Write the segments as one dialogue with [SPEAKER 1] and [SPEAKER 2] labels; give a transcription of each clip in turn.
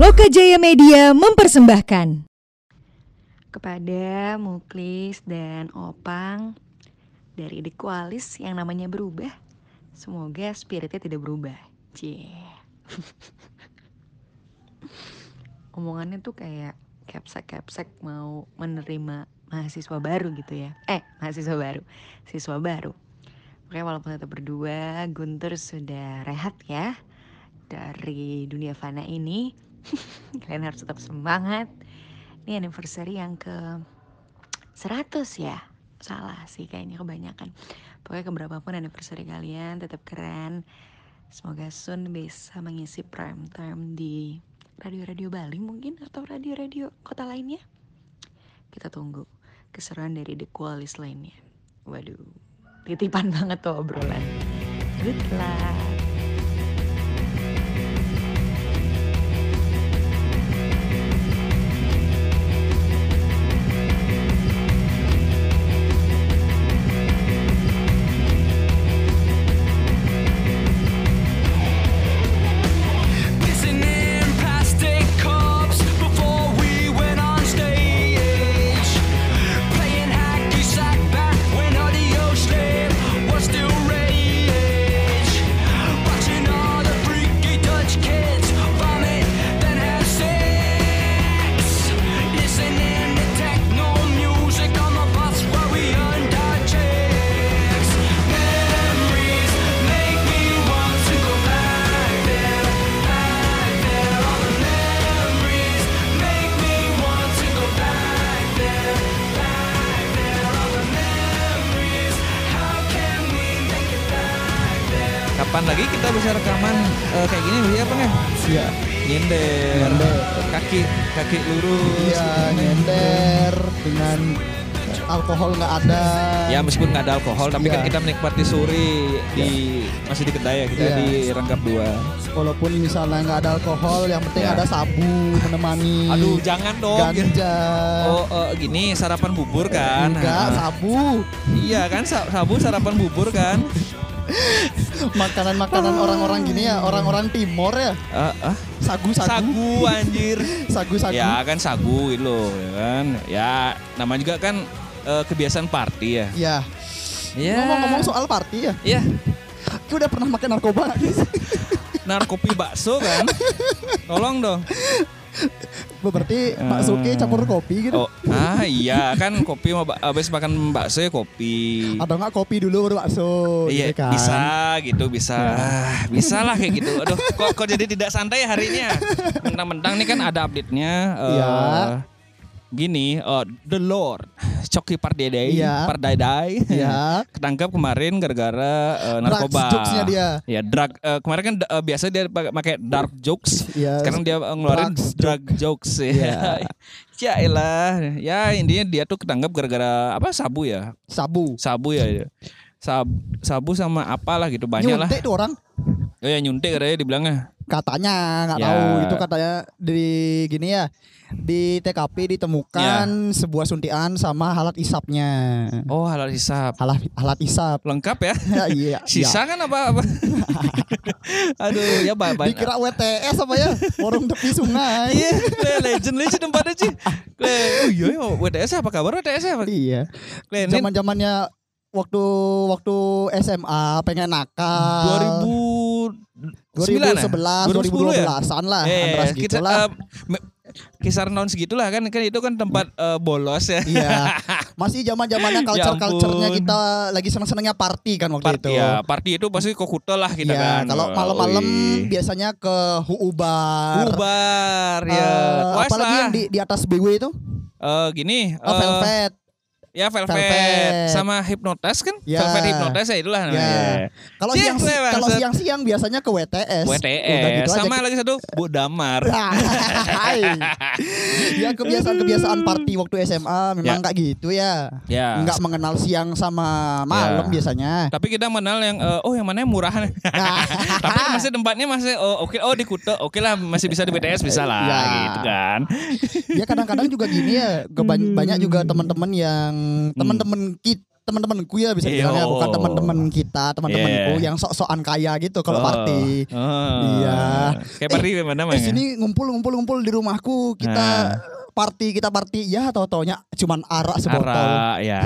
[SPEAKER 1] Loka Jaya Media mempersembahkan.
[SPEAKER 2] kepada Muklis dan Opang dari The Koalis yang namanya berubah. Semoga spiritnya tidak berubah. Cie. Omongannya tuh kayak kepsek-kepsek mau menerima mahasiswa baru gitu ya. Eh, mahasiswa baru. Siswa baru. Oke, walaupun tetap berdua, Guntur sudah rehat ya dari dunia fana ini. Kalian harus tetap semangat. Ini anniversary yang ke 100 ya. Salah sih kayaknya kebanyakan. Pokoknya keberapapun anniversary kalian tetap keren. Semoga Sun bisa mengisi prime time di radio-radio Bali mungkin atau radio-radio kota lainnya. Kita tunggu keseruan dari The Qualis lainnya. Waduh, titipan banget tuh obrolan. Good luck.
[SPEAKER 3] Listening plastic cups before we went on stage. Playing hacky sack back when audio slave was still rage. Watching all the freaky Dutch kids vomit, then have sex. Listening to techno music on the bus while we earned our checks. Memories make me want to go back there. Make me want to go back there, back there. All the memories, how can we make it back there?
[SPEAKER 4] Kapan lagi kita bisa rekaman eh, kayak gini Iya apa nggak?
[SPEAKER 5] Iya,
[SPEAKER 4] Nyender,
[SPEAKER 5] Nyender.
[SPEAKER 4] kaki kaki lurus.
[SPEAKER 5] iya nyender dengan alkohol nggak ada.
[SPEAKER 4] Ya meskipun nggak ada alkohol, tapi kan
[SPEAKER 5] Iya.
[SPEAKER 4] kita menikmati sore di masih di Kedaya kita
[SPEAKER 5] Iya. Hmm.
[SPEAKER 4] di Rangkap Dua.
[SPEAKER 5] Walaupun misalnya nggak ada alkohol, yang penting
[SPEAKER 4] Iya.
[SPEAKER 5] ada sabu menemani.
[SPEAKER 4] Aduh jangan dong.
[SPEAKER 5] ganja.
[SPEAKER 4] Oh eh, gini sarapan bubur kan?
[SPEAKER 5] Enggak,
[SPEAKER 4] Ah.
[SPEAKER 5] sabu.
[SPEAKER 4] Iya kan sa- sabu sarapan bubur kan?
[SPEAKER 5] Makanan-makanan
[SPEAKER 4] Oh.
[SPEAKER 5] orang-orang gini ya, orang-orang timor ya.
[SPEAKER 4] Ah, ah.
[SPEAKER 5] Sagu-sagu.
[SPEAKER 4] sagu anjir.
[SPEAKER 5] Sagu-sagu.
[SPEAKER 4] Ya kan sagu gitu loh, ya kan. Ya namanya juga kan eh, kebiasaan party ya.
[SPEAKER 5] Iya.
[SPEAKER 4] Iya.
[SPEAKER 5] Ngomong-ngomong soal party ya.
[SPEAKER 4] Iya,
[SPEAKER 5] Aku udah pernah makan narkoba nggak sih?
[SPEAKER 4] narkopi bakso kan? Tolong dong.
[SPEAKER 5] Berarti bakso ke campur kopi gitu.
[SPEAKER 4] Oh, ah iya kan kopi mau habis makan bakso ya kopi.
[SPEAKER 5] Atau nggak kopi dulu baru bakso.
[SPEAKER 4] Iya
[SPEAKER 5] gitu kan.
[SPEAKER 4] bisa gitu bisa Ah, bisa lah kayak gitu. Aduh kok, kok jadi tidak santai hari ini ya? Mentang-mentang nih kan ada update-nya. eh,
[SPEAKER 5] Iya.
[SPEAKER 4] Gini, eh, The Lord, Coki Pardedai,
[SPEAKER 5] Iya.
[SPEAKER 4] Pardedai.
[SPEAKER 5] Iya.
[SPEAKER 4] Ketangkap kemarin gara-gara eh, narkoba.
[SPEAKER 5] Drugs jokes-nya dia.
[SPEAKER 4] Ya drug. eh, kemarin kan eh, biasa dia pakai pakai dark jokes.
[SPEAKER 5] Iya.
[SPEAKER 4] Sekarang dia eh, ngeluarin
[SPEAKER 5] Drugs Iya.
[SPEAKER 4] drug jokes. Ya. ya elah. Ya intinya dia tuh ketangkap gara-gara apa sabu ya?
[SPEAKER 5] Sabu.
[SPEAKER 4] sabu ya Sab- sabu sama apalah gitu banyak lah
[SPEAKER 5] Nyuntik tuh orang.
[SPEAKER 4] oh ya nyuntik katanya dibilangnya
[SPEAKER 5] katanya nggak
[SPEAKER 4] Ya.
[SPEAKER 5] tahu itu katanya di gini ya di TKP
[SPEAKER 4] Ya.
[SPEAKER 5] ditemukan sebuah suntian sama alat isapnya
[SPEAKER 4] oh halal hisap
[SPEAKER 5] alat alat isap
[SPEAKER 4] lengkap ya
[SPEAKER 5] ya iya
[SPEAKER 4] sisa kan apa apa aduh ya
[SPEAKER 5] iya.
[SPEAKER 4] banyak
[SPEAKER 5] dikira WTS apa ya warung tepi sungai
[SPEAKER 4] iya le, legend legend tempatnya sih le oh iya iya, WTS apa kabar WTS apa
[SPEAKER 5] iya
[SPEAKER 4] le ini
[SPEAKER 5] zaman zamannya waktu waktu SMA pengen nakal
[SPEAKER 4] 2009
[SPEAKER 5] 2011
[SPEAKER 4] ya?
[SPEAKER 5] 2012an lah
[SPEAKER 4] Eh,
[SPEAKER 5] antara
[SPEAKER 4] kita,
[SPEAKER 5] segitulah
[SPEAKER 4] eh, me- kisar non segitulah kan kan itu kan tempat eh, bolos ya
[SPEAKER 5] Iya, masih zaman zamannya
[SPEAKER 4] Ya
[SPEAKER 5] culture
[SPEAKER 4] ampun.
[SPEAKER 5] culturenya kita lagi seneng senengnya party kan waktu
[SPEAKER 4] Part,
[SPEAKER 5] itu.
[SPEAKER 4] ya, party itu pasti kokutel lah kita
[SPEAKER 5] Iya,
[SPEAKER 4] kan.
[SPEAKER 5] kalau
[SPEAKER 4] Wah,
[SPEAKER 5] malam-malam
[SPEAKER 4] wih.
[SPEAKER 5] biasanya ke Huu Bar.
[SPEAKER 4] Ubar
[SPEAKER 5] Eh,
[SPEAKER 4] ya. Puas
[SPEAKER 5] apalagi
[SPEAKER 4] lah.
[SPEAKER 5] yang di, di atas BW itu?
[SPEAKER 4] Eh, gini.
[SPEAKER 5] Oh,
[SPEAKER 4] eh,
[SPEAKER 5] Velvet.
[SPEAKER 4] ya velvet.
[SPEAKER 5] Velvet.
[SPEAKER 4] sama hipnotis kan?
[SPEAKER 5] Ya.
[SPEAKER 4] Velvet hipnotis ya itulah
[SPEAKER 5] Ya.
[SPEAKER 4] namanya.
[SPEAKER 5] Kalau
[SPEAKER 4] Sih,
[SPEAKER 5] siang si-
[SPEAKER 4] bangsat.
[SPEAKER 5] kalau siang-siang biasanya ke WTS. Udah
[SPEAKER 4] WTS.
[SPEAKER 5] gitu aja.
[SPEAKER 4] E
[SPEAKER 5] Ya. Nah,
[SPEAKER 4] sama lagi satu Bu Damar.
[SPEAKER 5] Hai. ya kebiasaan-kebiasaan party waktu SMA
[SPEAKER 4] Ya.
[SPEAKER 5] memang nggak gitu ya.
[SPEAKER 4] Ya.
[SPEAKER 5] Nggak mengenal siang sama malam
[SPEAKER 4] Ya.
[SPEAKER 5] biasanya.
[SPEAKER 4] Tapi kita mengenal yang eh, oh yang mana yang murahan.
[SPEAKER 5] Nah.
[SPEAKER 4] Tapi masih tempatnya masih oh, oke oh di Kuta. Oke lah masih bisa di BTS bisa lah
[SPEAKER 5] Ya.
[SPEAKER 4] gitu kan. Hmm.
[SPEAKER 5] Ya kadang-kadang juga gini ya, keba- banyak juga teman-teman yang teman-teman kita teman-temanku ya bisa
[SPEAKER 4] Iya.
[SPEAKER 5] bilangnya bukan teman-teman kita, teman-temanku
[SPEAKER 4] Iya.
[SPEAKER 5] yang sok-sokan kaya gitu kalau
[SPEAKER 4] Oh.
[SPEAKER 5] party.
[SPEAKER 4] Oh.
[SPEAKER 5] Iya.
[SPEAKER 4] Kayak party gimana namanya?
[SPEAKER 5] Di sini ngumpul-ngumpul-ngumpul di rumahku kita
[SPEAKER 4] ya? Nah.
[SPEAKER 5] party kita party ya tau taunya cuman arak sebotol.
[SPEAKER 4] Ara, ya.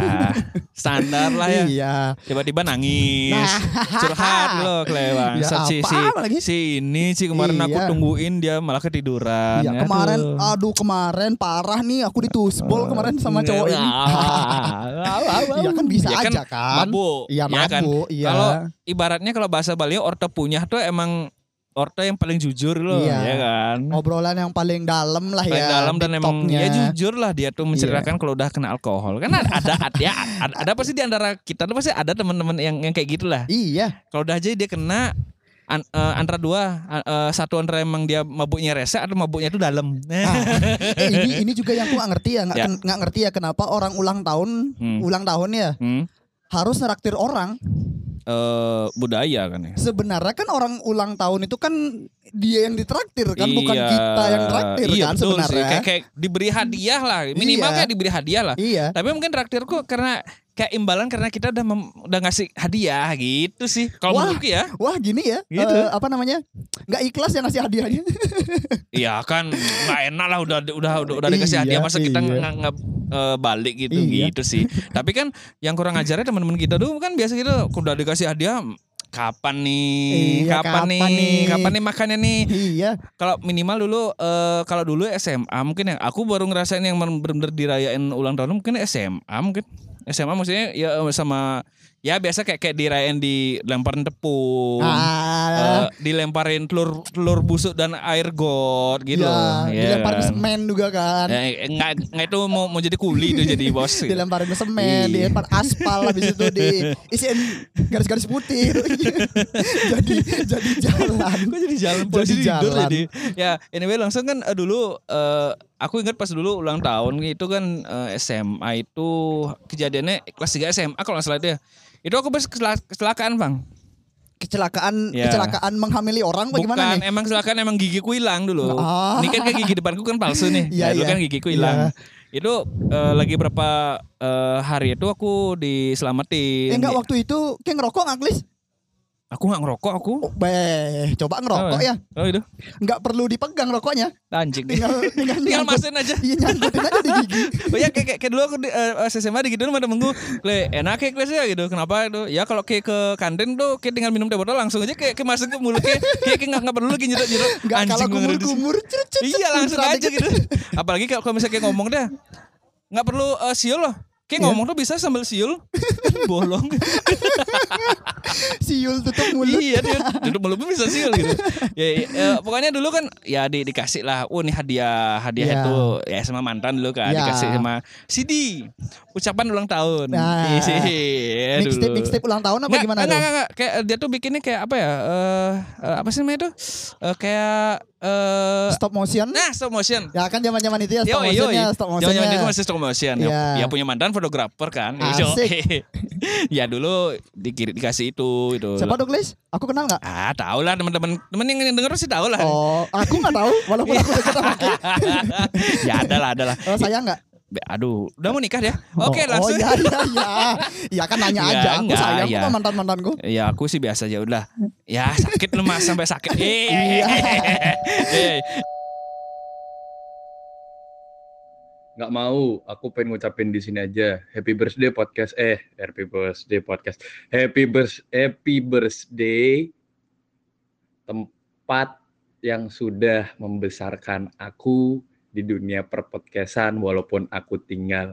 [SPEAKER 4] Standar lah ya.
[SPEAKER 5] Iya.
[SPEAKER 4] Tiba-tiba nangis,
[SPEAKER 5] Nah.
[SPEAKER 4] curhat lo kelewat.
[SPEAKER 5] Ya,
[SPEAKER 4] si, si,
[SPEAKER 5] apaan lagi?
[SPEAKER 4] si ini sih kemarin aku
[SPEAKER 5] Iya.
[SPEAKER 4] tungguin dia malah ketiduran. ya
[SPEAKER 5] Iya, kemarin aduh kemarin parah nih aku ditusbol kemarin sama cowok
[SPEAKER 4] iya.
[SPEAKER 5] ini.
[SPEAKER 4] Ah,
[SPEAKER 5] Iya kan bisa
[SPEAKER 4] Ya kan,
[SPEAKER 5] aja kan.
[SPEAKER 4] mabuk.
[SPEAKER 5] Iya
[SPEAKER 4] Ya kan?
[SPEAKER 5] mabuk, iya.
[SPEAKER 4] Kalau ibaratnya kalau bahasa Bali Orto punya tuh emang Orto yang paling jujur loh,
[SPEAKER 5] Iya.
[SPEAKER 4] ya kan?
[SPEAKER 5] Obrolan yang paling dalam lah
[SPEAKER 4] Paling
[SPEAKER 5] ya.
[SPEAKER 4] dalam dan emang
[SPEAKER 5] TikToknya. Iya.
[SPEAKER 4] ya jujur lah dia tuh menceritakan kalau udah kena alkohol. Kan ada ada ada, ada, ada pasti di antara kita tuh pasti ada teman-teman yang yang kayak gitulah.
[SPEAKER 5] Iya.
[SPEAKER 4] Kalau udah aja dia kena an- eh, antara dua an- eh, satu antara emang dia mabuknya rese atau mabuknya itu dalam.
[SPEAKER 5] Eh, ini ini juga yang aku nggak ngerti ya nggak
[SPEAKER 4] Ya.
[SPEAKER 5] ken- nggak ngerti ya kenapa orang ulang tahun
[SPEAKER 4] Hmm.
[SPEAKER 5] ulang tahun ya
[SPEAKER 4] Hmm.
[SPEAKER 5] harus neraktir orang
[SPEAKER 4] Eh, budaya kan ya.
[SPEAKER 5] sebenarnya kan orang ulang tahun itu kan dia yang ditraktir kan bukan
[SPEAKER 4] Iya.
[SPEAKER 5] kita yang traktir
[SPEAKER 4] iya,
[SPEAKER 5] kan
[SPEAKER 4] betul sih.
[SPEAKER 5] sebenarnya
[SPEAKER 4] Kayak, kayak diberi hadiah lah, minimal
[SPEAKER 5] Iya.
[SPEAKER 4] kayak diberi hadiah lah.
[SPEAKER 5] iya
[SPEAKER 4] Tapi mungkin traktirku karena kayak imbalan karena kita udah mem- udah ngasih hadiah gitu sih. Kalau
[SPEAKER 5] Wah.
[SPEAKER 4] menurutku ya,
[SPEAKER 5] wah gini ya
[SPEAKER 4] Gitu.
[SPEAKER 5] eh, apa namanya nggak ikhlas yang ngasih hadiahnya
[SPEAKER 4] iya kan nggak enak lah udah udah udah, udah dikasih
[SPEAKER 5] Iya,
[SPEAKER 4] hadiah masa kita
[SPEAKER 5] iya.
[SPEAKER 4] nggak nggak eh, balik gitu
[SPEAKER 5] Iya.
[SPEAKER 4] gitu sih. Tapi kan yang kurang ajarnya teman-teman kita dulu kan biasa gitu udah dikasih hadiah kapan nih?
[SPEAKER 5] Iya,
[SPEAKER 4] kapan,
[SPEAKER 5] kapan
[SPEAKER 4] nih?
[SPEAKER 5] nih?
[SPEAKER 4] Kapan nih makannya nih?
[SPEAKER 5] iya
[SPEAKER 4] Kalau minimal dulu eh, kalau dulu SMA mungkin yang aku baru ngerasain yang benar-benar dirayain ulang tahun mungkin SMA mungkin SMA maksudnya ya sama ya biasa kayak kayak dirayain di lemparan tepung. eh,
[SPEAKER 5] ah,
[SPEAKER 4] dilemparin telur telur busuk dan air got gitu
[SPEAKER 5] iya,
[SPEAKER 4] loh. Iya
[SPEAKER 5] dilemparin
[SPEAKER 4] kan?
[SPEAKER 5] semen juga kan
[SPEAKER 4] Eh, enggak, enggak itu mau mau jadi kuli itu jadi bos.
[SPEAKER 5] dilemparin ke
[SPEAKER 4] Iya.
[SPEAKER 5] semen, dilempar aspal habis itu diisiin garis-garis putih. jadi jadi jalan.
[SPEAKER 4] Kok jadi jalan
[SPEAKER 5] Jadi
[SPEAKER 4] jadi tidur
[SPEAKER 5] jalan.
[SPEAKER 4] jadi. Ya, anyway langsung kan eh, dulu eh, aku ingat pas dulu ulang tahun itu kan eh, SMA itu kejadiannya kelas 3 SMA kalau nggak salah itu ya. Itu aku pas kesela- kecelakaan, Bang.
[SPEAKER 5] Kecelakaan
[SPEAKER 4] Iya.
[SPEAKER 5] kecelakaan menghamili orang bagaimana
[SPEAKER 4] Bukan,
[SPEAKER 5] nih?
[SPEAKER 4] emang silakan emang gigiku hilang dulu.
[SPEAKER 5] Ah.
[SPEAKER 4] Ini kan kayak gigi depanku kan palsu nih.
[SPEAKER 5] Iya,
[SPEAKER 4] Ya, dulu
[SPEAKER 5] iya.
[SPEAKER 4] kan gigiku hilang. Itu eh, lagi berapa eh, hari itu aku diselamatin.
[SPEAKER 5] Eh, enggak waktu itu kayak ngerokok nggak Klis?
[SPEAKER 4] Aku nggak ngerokok aku.
[SPEAKER 5] Oh, Beh, coba ngerokok ya.
[SPEAKER 4] Oh itu. Nah,
[SPEAKER 5] Enggak perlu dipegang rokoknya.
[SPEAKER 4] Anjing nih.
[SPEAKER 5] Tinggal tinggal
[SPEAKER 4] Tinggal
[SPEAKER 5] nyangkut.
[SPEAKER 4] masukin aja.
[SPEAKER 5] Iya nyangkutin aja di gigi.
[SPEAKER 4] Oh ya kayak, kayak, kayak dulu aku di, eh, SMA di gitu sama temenku Kle enak kayak Kle sih ya gitu Kenapa itu Ya kalau kayak ke kantin tuh Kayak tinggal minum teh botol langsung aja Kayak, kayak masuk ke mulut Kayak kayak, kayak nggak nggak perlu lagi nyerut-nyerut
[SPEAKER 5] Enggak kalau
[SPEAKER 4] gua ngeri di sini.
[SPEAKER 5] kumur-kumur cut, cut,
[SPEAKER 4] Iya
[SPEAKER 5] cut,
[SPEAKER 4] langsung
[SPEAKER 5] muncrat
[SPEAKER 4] aja gitu Apalagi kalau kalau misalnya kayak ngomong deh Nggak perlu eh, siul loh Kayak
[SPEAKER 5] Iya.
[SPEAKER 4] ngomong tuh bisa sambil siul Bolong
[SPEAKER 5] Siul tutup mulut.
[SPEAKER 4] Iya dia duduk mulut pun bisa siul gitu ya, ya, eh, Pokoknya dulu kan Ya di, dikasih lah Oh ini hadiah Hadiah
[SPEAKER 5] Iya.
[SPEAKER 4] itu Ya sama mantan dulu kan
[SPEAKER 5] Iya.
[SPEAKER 4] Dikasih sama CD Ucapan ulang tahun
[SPEAKER 5] Nah.
[SPEAKER 4] Isi, ya
[SPEAKER 5] Mixtape
[SPEAKER 4] dulu.
[SPEAKER 5] mixtape ulang tahun apa
[SPEAKER 4] Nggak,
[SPEAKER 5] gimana
[SPEAKER 4] nggak,
[SPEAKER 5] tuh?
[SPEAKER 4] nggak, nggak. Kayak eh, dia tuh bikinnya kayak apa ya? Eh, eh, apa sih namanya tuh? Eh, kayak eh
[SPEAKER 5] Stop motion.
[SPEAKER 4] nah stop motion.
[SPEAKER 5] Ya kan zaman-zaman itu ya stop
[SPEAKER 4] Yoi, yoi.
[SPEAKER 5] motionnya, stop motionnya.
[SPEAKER 4] Zaman-zaman itu masih stop motion. Ya,
[SPEAKER 5] Iya.
[SPEAKER 4] ya punya mantan fotografer kan.
[SPEAKER 5] Asik.
[SPEAKER 4] ya dulu dikiri dikasih itu itu.
[SPEAKER 5] Siapa tuh Klis? Aku kenal nggak?
[SPEAKER 4] Ah, tau lah teman-teman. Temen yang yang denger pasti tau lah.
[SPEAKER 5] Oh, aku nggak tahu. Walaupun aku dekat sama Klis.
[SPEAKER 4] ya ada lah, ada lah.
[SPEAKER 5] Oh, saya nggak.
[SPEAKER 4] Be- Aduh, udah mau nikah ya? Oke,
[SPEAKER 5] oh,
[SPEAKER 4] langsung.
[SPEAKER 5] Oh, ya, ya, ya. Ya kan nanya
[SPEAKER 4] Nggak,
[SPEAKER 5] aja. Aku
[SPEAKER 4] nggak,
[SPEAKER 5] sayang
[SPEAKER 4] ya.
[SPEAKER 5] sama mantan-mantanku.
[SPEAKER 4] Ya aku sih biasa aja udah. Ya sakit lu mas sampai sakit.
[SPEAKER 5] Iya.
[SPEAKER 4] Eh, eh.
[SPEAKER 6] nggak mau aku pengen ngucapin di sini aja happy birthday podcast eh happy birthday podcast happy birth happy birthday tempat yang sudah membesarkan aku di dunia perpodcastan walaupun aku tinggal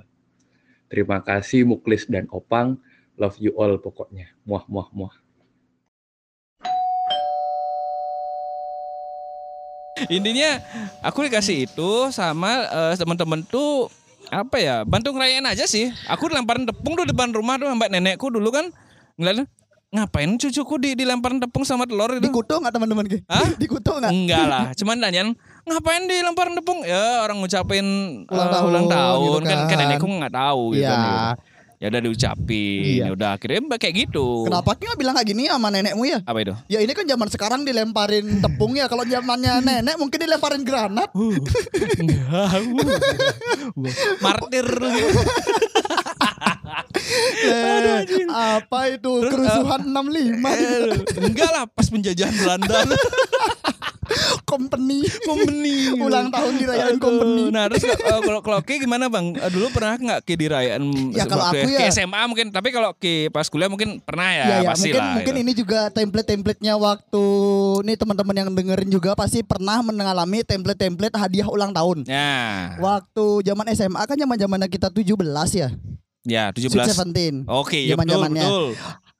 [SPEAKER 6] terima kasih Muklis dan Opang love you all pokoknya muah muah muah
[SPEAKER 4] Intinya aku dikasih itu sama eh, teman-teman tuh apa ya bantu ngerayain aja sih. Aku dilemparin tepung tuh depan rumah tuh mbak nenekku dulu kan ngeliatnya ngapain cucuku di dilemparin tepung sama telur itu?
[SPEAKER 5] Dikutuk nggak teman-teman? Ki?
[SPEAKER 4] Hah?
[SPEAKER 5] Dikutuk nggak?
[SPEAKER 4] Enggak lah, cuman nanyain ngapain dilemparin tepung? Ya orang ngucapin eh,
[SPEAKER 5] Ulang tahun
[SPEAKER 4] ulang tahun.
[SPEAKER 5] gitu
[SPEAKER 4] kan. kan
[SPEAKER 5] kan.
[SPEAKER 4] nenekku nggak tahu gitu
[SPEAKER 5] Iya.
[SPEAKER 4] kan. Ya udah diucapin,
[SPEAKER 5] Iya.
[SPEAKER 4] ya udah akhirnya mbak kayak gitu.
[SPEAKER 5] Kenapa Ki nggak bilang kayak gini sama nenekmu ya?
[SPEAKER 4] Apa itu?
[SPEAKER 5] Ya ini kan zaman sekarang dilemparin tepung ya. Kalau zamannya nenek mungkin dilemparin granat.
[SPEAKER 4] Martir
[SPEAKER 5] Eh, apa itu
[SPEAKER 4] Terus, eh,
[SPEAKER 5] kerusuhan 65
[SPEAKER 4] Enggak lah pas penjajahan Belanda
[SPEAKER 5] company
[SPEAKER 4] company
[SPEAKER 5] ulang tahun dirayain
[SPEAKER 4] Aduh.
[SPEAKER 5] company
[SPEAKER 4] Nah terus eh, kalau kalau Ki gimana bang? Eh, Dulu pernah nggak Ki dirayaan
[SPEAKER 5] Ya, kalau
[SPEAKER 4] waktu
[SPEAKER 5] aku
[SPEAKER 4] Ki
[SPEAKER 5] ya-
[SPEAKER 4] SMA mungkin. Tapi kalau Ki pas kuliah mungkin pernah ya,
[SPEAKER 5] Ya, ya,
[SPEAKER 4] pasti
[SPEAKER 5] mungkin
[SPEAKER 4] lah.
[SPEAKER 5] mungkin
[SPEAKER 4] gitu.
[SPEAKER 5] ini juga template-templatenya waktu nih teman-teman yang dengerin juga pasti pernah mengalami template-template hadiah ulang tahun.
[SPEAKER 4] Ya,
[SPEAKER 5] Waktu zaman SMA kan zaman-zamannya kita 17 ya.
[SPEAKER 4] ya
[SPEAKER 5] Sweet
[SPEAKER 4] 17
[SPEAKER 5] Seventeen.
[SPEAKER 4] Oke, ya betul,
[SPEAKER 5] Zaman-zamannya.
[SPEAKER 4] betul.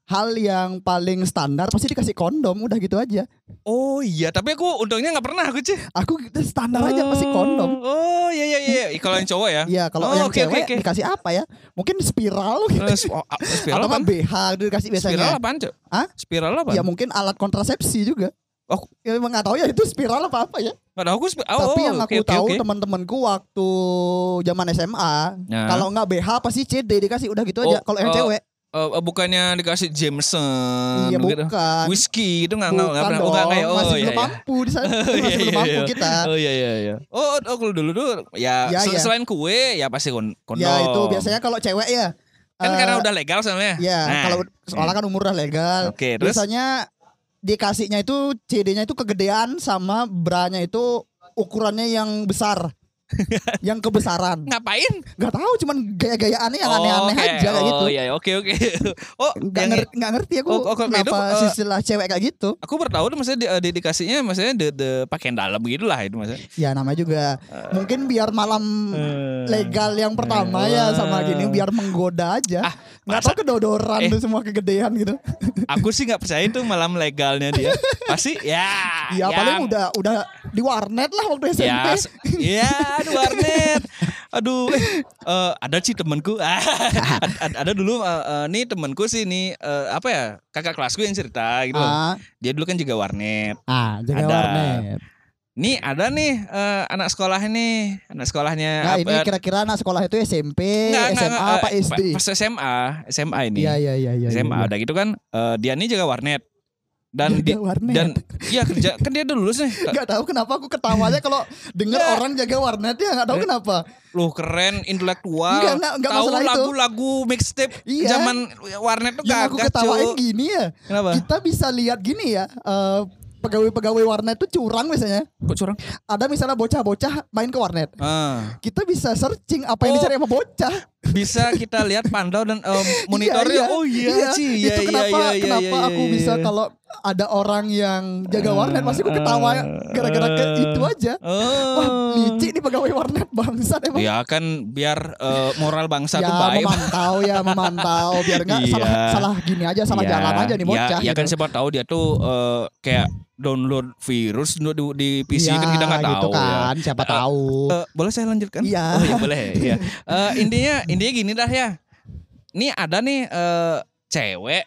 [SPEAKER 5] Hal yang paling standar pasti dikasih kondom, udah gitu aja.
[SPEAKER 4] Oh iya, tapi aku untungnya nggak pernah aku Ci.
[SPEAKER 5] Aku gitu standar aja pasti kondom.
[SPEAKER 4] Oh iya iya iya. Kalau yang cowok ya.
[SPEAKER 5] Iya,
[SPEAKER 4] Oh,
[SPEAKER 5] kalau yang
[SPEAKER 4] oke, oke,
[SPEAKER 5] cewek
[SPEAKER 4] oke.
[SPEAKER 5] dikasih apa ya? Mungkin spiral gitu.
[SPEAKER 4] Eh, sp- oh, ah, Spiral
[SPEAKER 5] Atau
[SPEAKER 4] apa?
[SPEAKER 5] nggak BH dikasih biasanya.
[SPEAKER 4] Spiral apaan, Cok?
[SPEAKER 5] Hah?
[SPEAKER 4] Spiral apa?
[SPEAKER 5] Ya mungkin alat kontrasepsi juga.
[SPEAKER 4] Oh.
[SPEAKER 5] Ya emang nggak tahu ya itu spiral apa apa ya.
[SPEAKER 4] Nggak tahu aku sp- oh,
[SPEAKER 5] Tapi
[SPEAKER 4] oh,
[SPEAKER 5] yang
[SPEAKER 4] oke,
[SPEAKER 5] aku
[SPEAKER 4] oke,
[SPEAKER 5] tahu
[SPEAKER 4] oke.
[SPEAKER 5] teman-temanku waktu zaman SMA,
[SPEAKER 4] Nah.
[SPEAKER 5] kalau nggak BH pasti CD dikasih udah gitu
[SPEAKER 4] Oh,
[SPEAKER 5] aja. Kalau yang
[SPEAKER 4] eh,
[SPEAKER 5] cewek,
[SPEAKER 4] Eh, eh, bukannya dikasih Jameson gitu?
[SPEAKER 5] iya
[SPEAKER 4] begitu.
[SPEAKER 5] bukan.
[SPEAKER 4] Whiskey itu nggak nggak nggak
[SPEAKER 5] Bukan
[SPEAKER 4] pernah.
[SPEAKER 5] dong,
[SPEAKER 4] Oh, nggak nggak ya. Oh,
[SPEAKER 5] masih
[SPEAKER 4] iya,
[SPEAKER 5] belum
[SPEAKER 4] iya.
[SPEAKER 5] mampu di sana,
[SPEAKER 4] Iya,
[SPEAKER 5] masih belum
[SPEAKER 4] iya,
[SPEAKER 5] mampu
[SPEAKER 4] iya.
[SPEAKER 5] kita.
[SPEAKER 4] Oh iya iya iya. Oh, oh kalau dulu dulu ya,
[SPEAKER 5] Ya,
[SPEAKER 4] sel-
[SPEAKER 5] ya.
[SPEAKER 4] selain kue ya pasti kon- kondom.
[SPEAKER 5] Ya itu biasanya kalau cewek ya.
[SPEAKER 4] kan
[SPEAKER 5] eh,
[SPEAKER 4] karena udah legal sebenarnya.
[SPEAKER 5] Ya
[SPEAKER 4] Nah,
[SPEAKER 5] kalau soalnya kan umurnya legal.
[SPEAKER 4] Oke, terus
[SPEAKER 5] Biasanya dikasihnya itu CD-nya itu kegedean sama branya itu ukurannya yang besar. yang kebesaran.
[SPEAKER 4] ngapain?
[SPEAKER 5] Nggak tahu cuman gaya-gayaannya yang aneh-aneh
[SPEAKER 4] Oh, oke.
[SPEAKER 5] aja kayak gitu.
[SPEAKER 4] Oh iya, oke oke. Oh,
[SPEAKER 5] Nggak,
[SPEAKER 4] yang-
[SPEAKER 5] nger- nggak ngerti aku
[SPEAKER 4] Oh, oh, kalau kayak
[SPEAKER 5] kenapa
[SPEAKER 4] itu, eh,
[SPEAKER 5] istilah cewek kayak gitu.
[SPEAKER 4] aku baru tahu tuh maksudnya di, eh, dedikasinya maksudnya de, de pakaian dalam gitu lah itu maksudnya.
[SPEAKER 5] Ya namanya juga mungkin biar malam
[SPEAKER 4] Eh.
[SPEAKER 5] legal yang pertama ya sama gini biar menggoda aja.
[SPEAKER 4] Ah,
[SPEAKER 5] Nggak tahu
[SPEAKER 4] Eh.
[SPEAKER 5] kedodoran tuh semua kegedean gitu.
[SPEAKER 4] Aku sih nggak percaya itu malam legalnya dia. Pasti ya.
[SPEAKER 5] Ya paling udah udah di warnet lah waktu SMP.
[SPEAKER 4] Ya, s- ya, aduh warnet. Aduh, eh, eh, ada sih temanku. Ad- ad- ada dulu eh, eh, nih temanku sih nih eh, apa ya kakak kelasku yang cerita gitu. loh.
[SPEAKER 5] Ah,
[SPEAKER 4] Dia dulu kan juga warnet.
[SPEAKER 5] ah jaga
[SPEAKER 4] Ada.
[SPEAKER 5] warnet.
[SPEAKER 4] Nih ada nih eh, anak sekolah nih, anak sekolahnya.
[SPEAKER 5] Nah
[SPEAKER 4] apa- ya?
[SPEAKER 5] ini kira-kira anak sekolah itu SMP,
[SPEAKER 4] Nggak, nggak,
[SPEAKER 5] SMA,
[SPEAKER 4] nggak,
[SPEAKER 5] apa
[SPEAKER 4] eh,
[SPEAKER 5] SD?
[SPEAKER 4] Pas SMA, SMA ini.
[SPEAKER 5] Iya iya iya iya.
[SPEAKER 4] SMA
[SPEAKER 5] iya.
[SPEAKER 4] udah gitu kan eh, dia nih jaga warnet. Dan
[SPEAKER 5] Jaga
[SPEAKER 4] di-
[SPEAKER 5] warnet.
[SPEAKER 4] dan iya kerja kan dia udah lulus nih.
[SPEAKER 5] Gak tahu kenapa aku ketawanya kalau denger
[SPEAKER 4] Nggak.
[SPEAKER 5] orang jaga warnet ya nggak tahu
[SPEAKER 4] Eh.
[SPEAKER 5] kenapa.
[SPEAKER 4] Loh keren intelektual.
[SPEAKER 5] Nggak, nggak, nggak
[SPEAKER 4] Tahu
[SPEAKER 5] masalah itu.
[SPEAKER 4] lagu-lagu mixtape
[SPEAKER 5] Iya.
[SPEAKER 4] zaman warnet tuh
[SPEAKER 5] Yang aku
[SPEAKER 4] gagah,
[SPEAKER 5] ketawain
[SPEAKER 4] Cuk.
[SPEAKER 5] gini ya.
[SPEAKER 4] Kenapa?
[SPEAKER 5] Kita bisa lihat gini ya. eh, Pegawai-pegawai warnet tuh curang biasanya.
[SPEAKER 4] Kok curang?
[SPEAKER 5] Ada misalnya bocah-bocah main ke warnet.
[SPEAKER 4] Ah,
[SPEAKER 5] Kita bisa searching apa
[SPEAKER 4] Oh.
[SPEAKER 5] yang dicari sama bocah.
[SPEAKER 4] bisa kita lihat pandau dan em, monitornya. Oh iya, sih. Iya,
[SPEAKER 5] Itu
[SPEAKER 4] iya,
[SPEAKER 5] kenapa
[SPEAKER 4] iya, iya,
[SPEAKER 5] kenapa
[SPEAKER 4] iya,
[SPEAKER 5] aku
[SPEAKER 4] iya,
[SPEAKER 5] bisa
[SPEAKER 4] iya.
[SPEAKER 5] kalau ada orang yang jaga warnet pasti aku ketawa
[SPEAKER 4] eh,
[SPEAKER 5] gara-gara ke itu aja.
[SPEAKER 4] Oh.
[SPEAKER 5] Wah, licik nih pegawai warnet bangsat emang.
[SPEAKER 4] Ya kan biar eh, moral bangsa
[SPEAKER 5] ya,
[SPEAKER 4] tuh baik.
[SPEAKER 5] memantau ya, memantau biar enggak
[SPEAKER 4] Iya.
[SPEAKER 5] salah salah gini aja, salah
[SPEAKER 4] Iya,
[SPEAKER 5] jalan aja nih
[SPEAKER 4] iya,
[SPEAKER 5] bocah.
[SPEAKER 4] Iya kan
[SPEAKER 5] gitu.
[SPEAKER 4] siapa tahu dia tuh eh, kayak download virus di, di- di PC kan
[SPEAKER 5] Iya,
[SPEAKER 4] kita nggak
[SPEAKER 5] gitu
[SPEAKER 4] tahu. ya.
[SPEAKER 5] kan, siapa
[SPEAKER 4] Eh,
[SPEAKER 5] tahu.
[SPEAKER 4] Eh, boleh saya lanjutkan?
[SPEAKER 5] Iya.
[SPEAKER 4] Oh, iya boleh. Iya. Eh, intinya intinya gini dah ya. Nih ada nih eh, cewek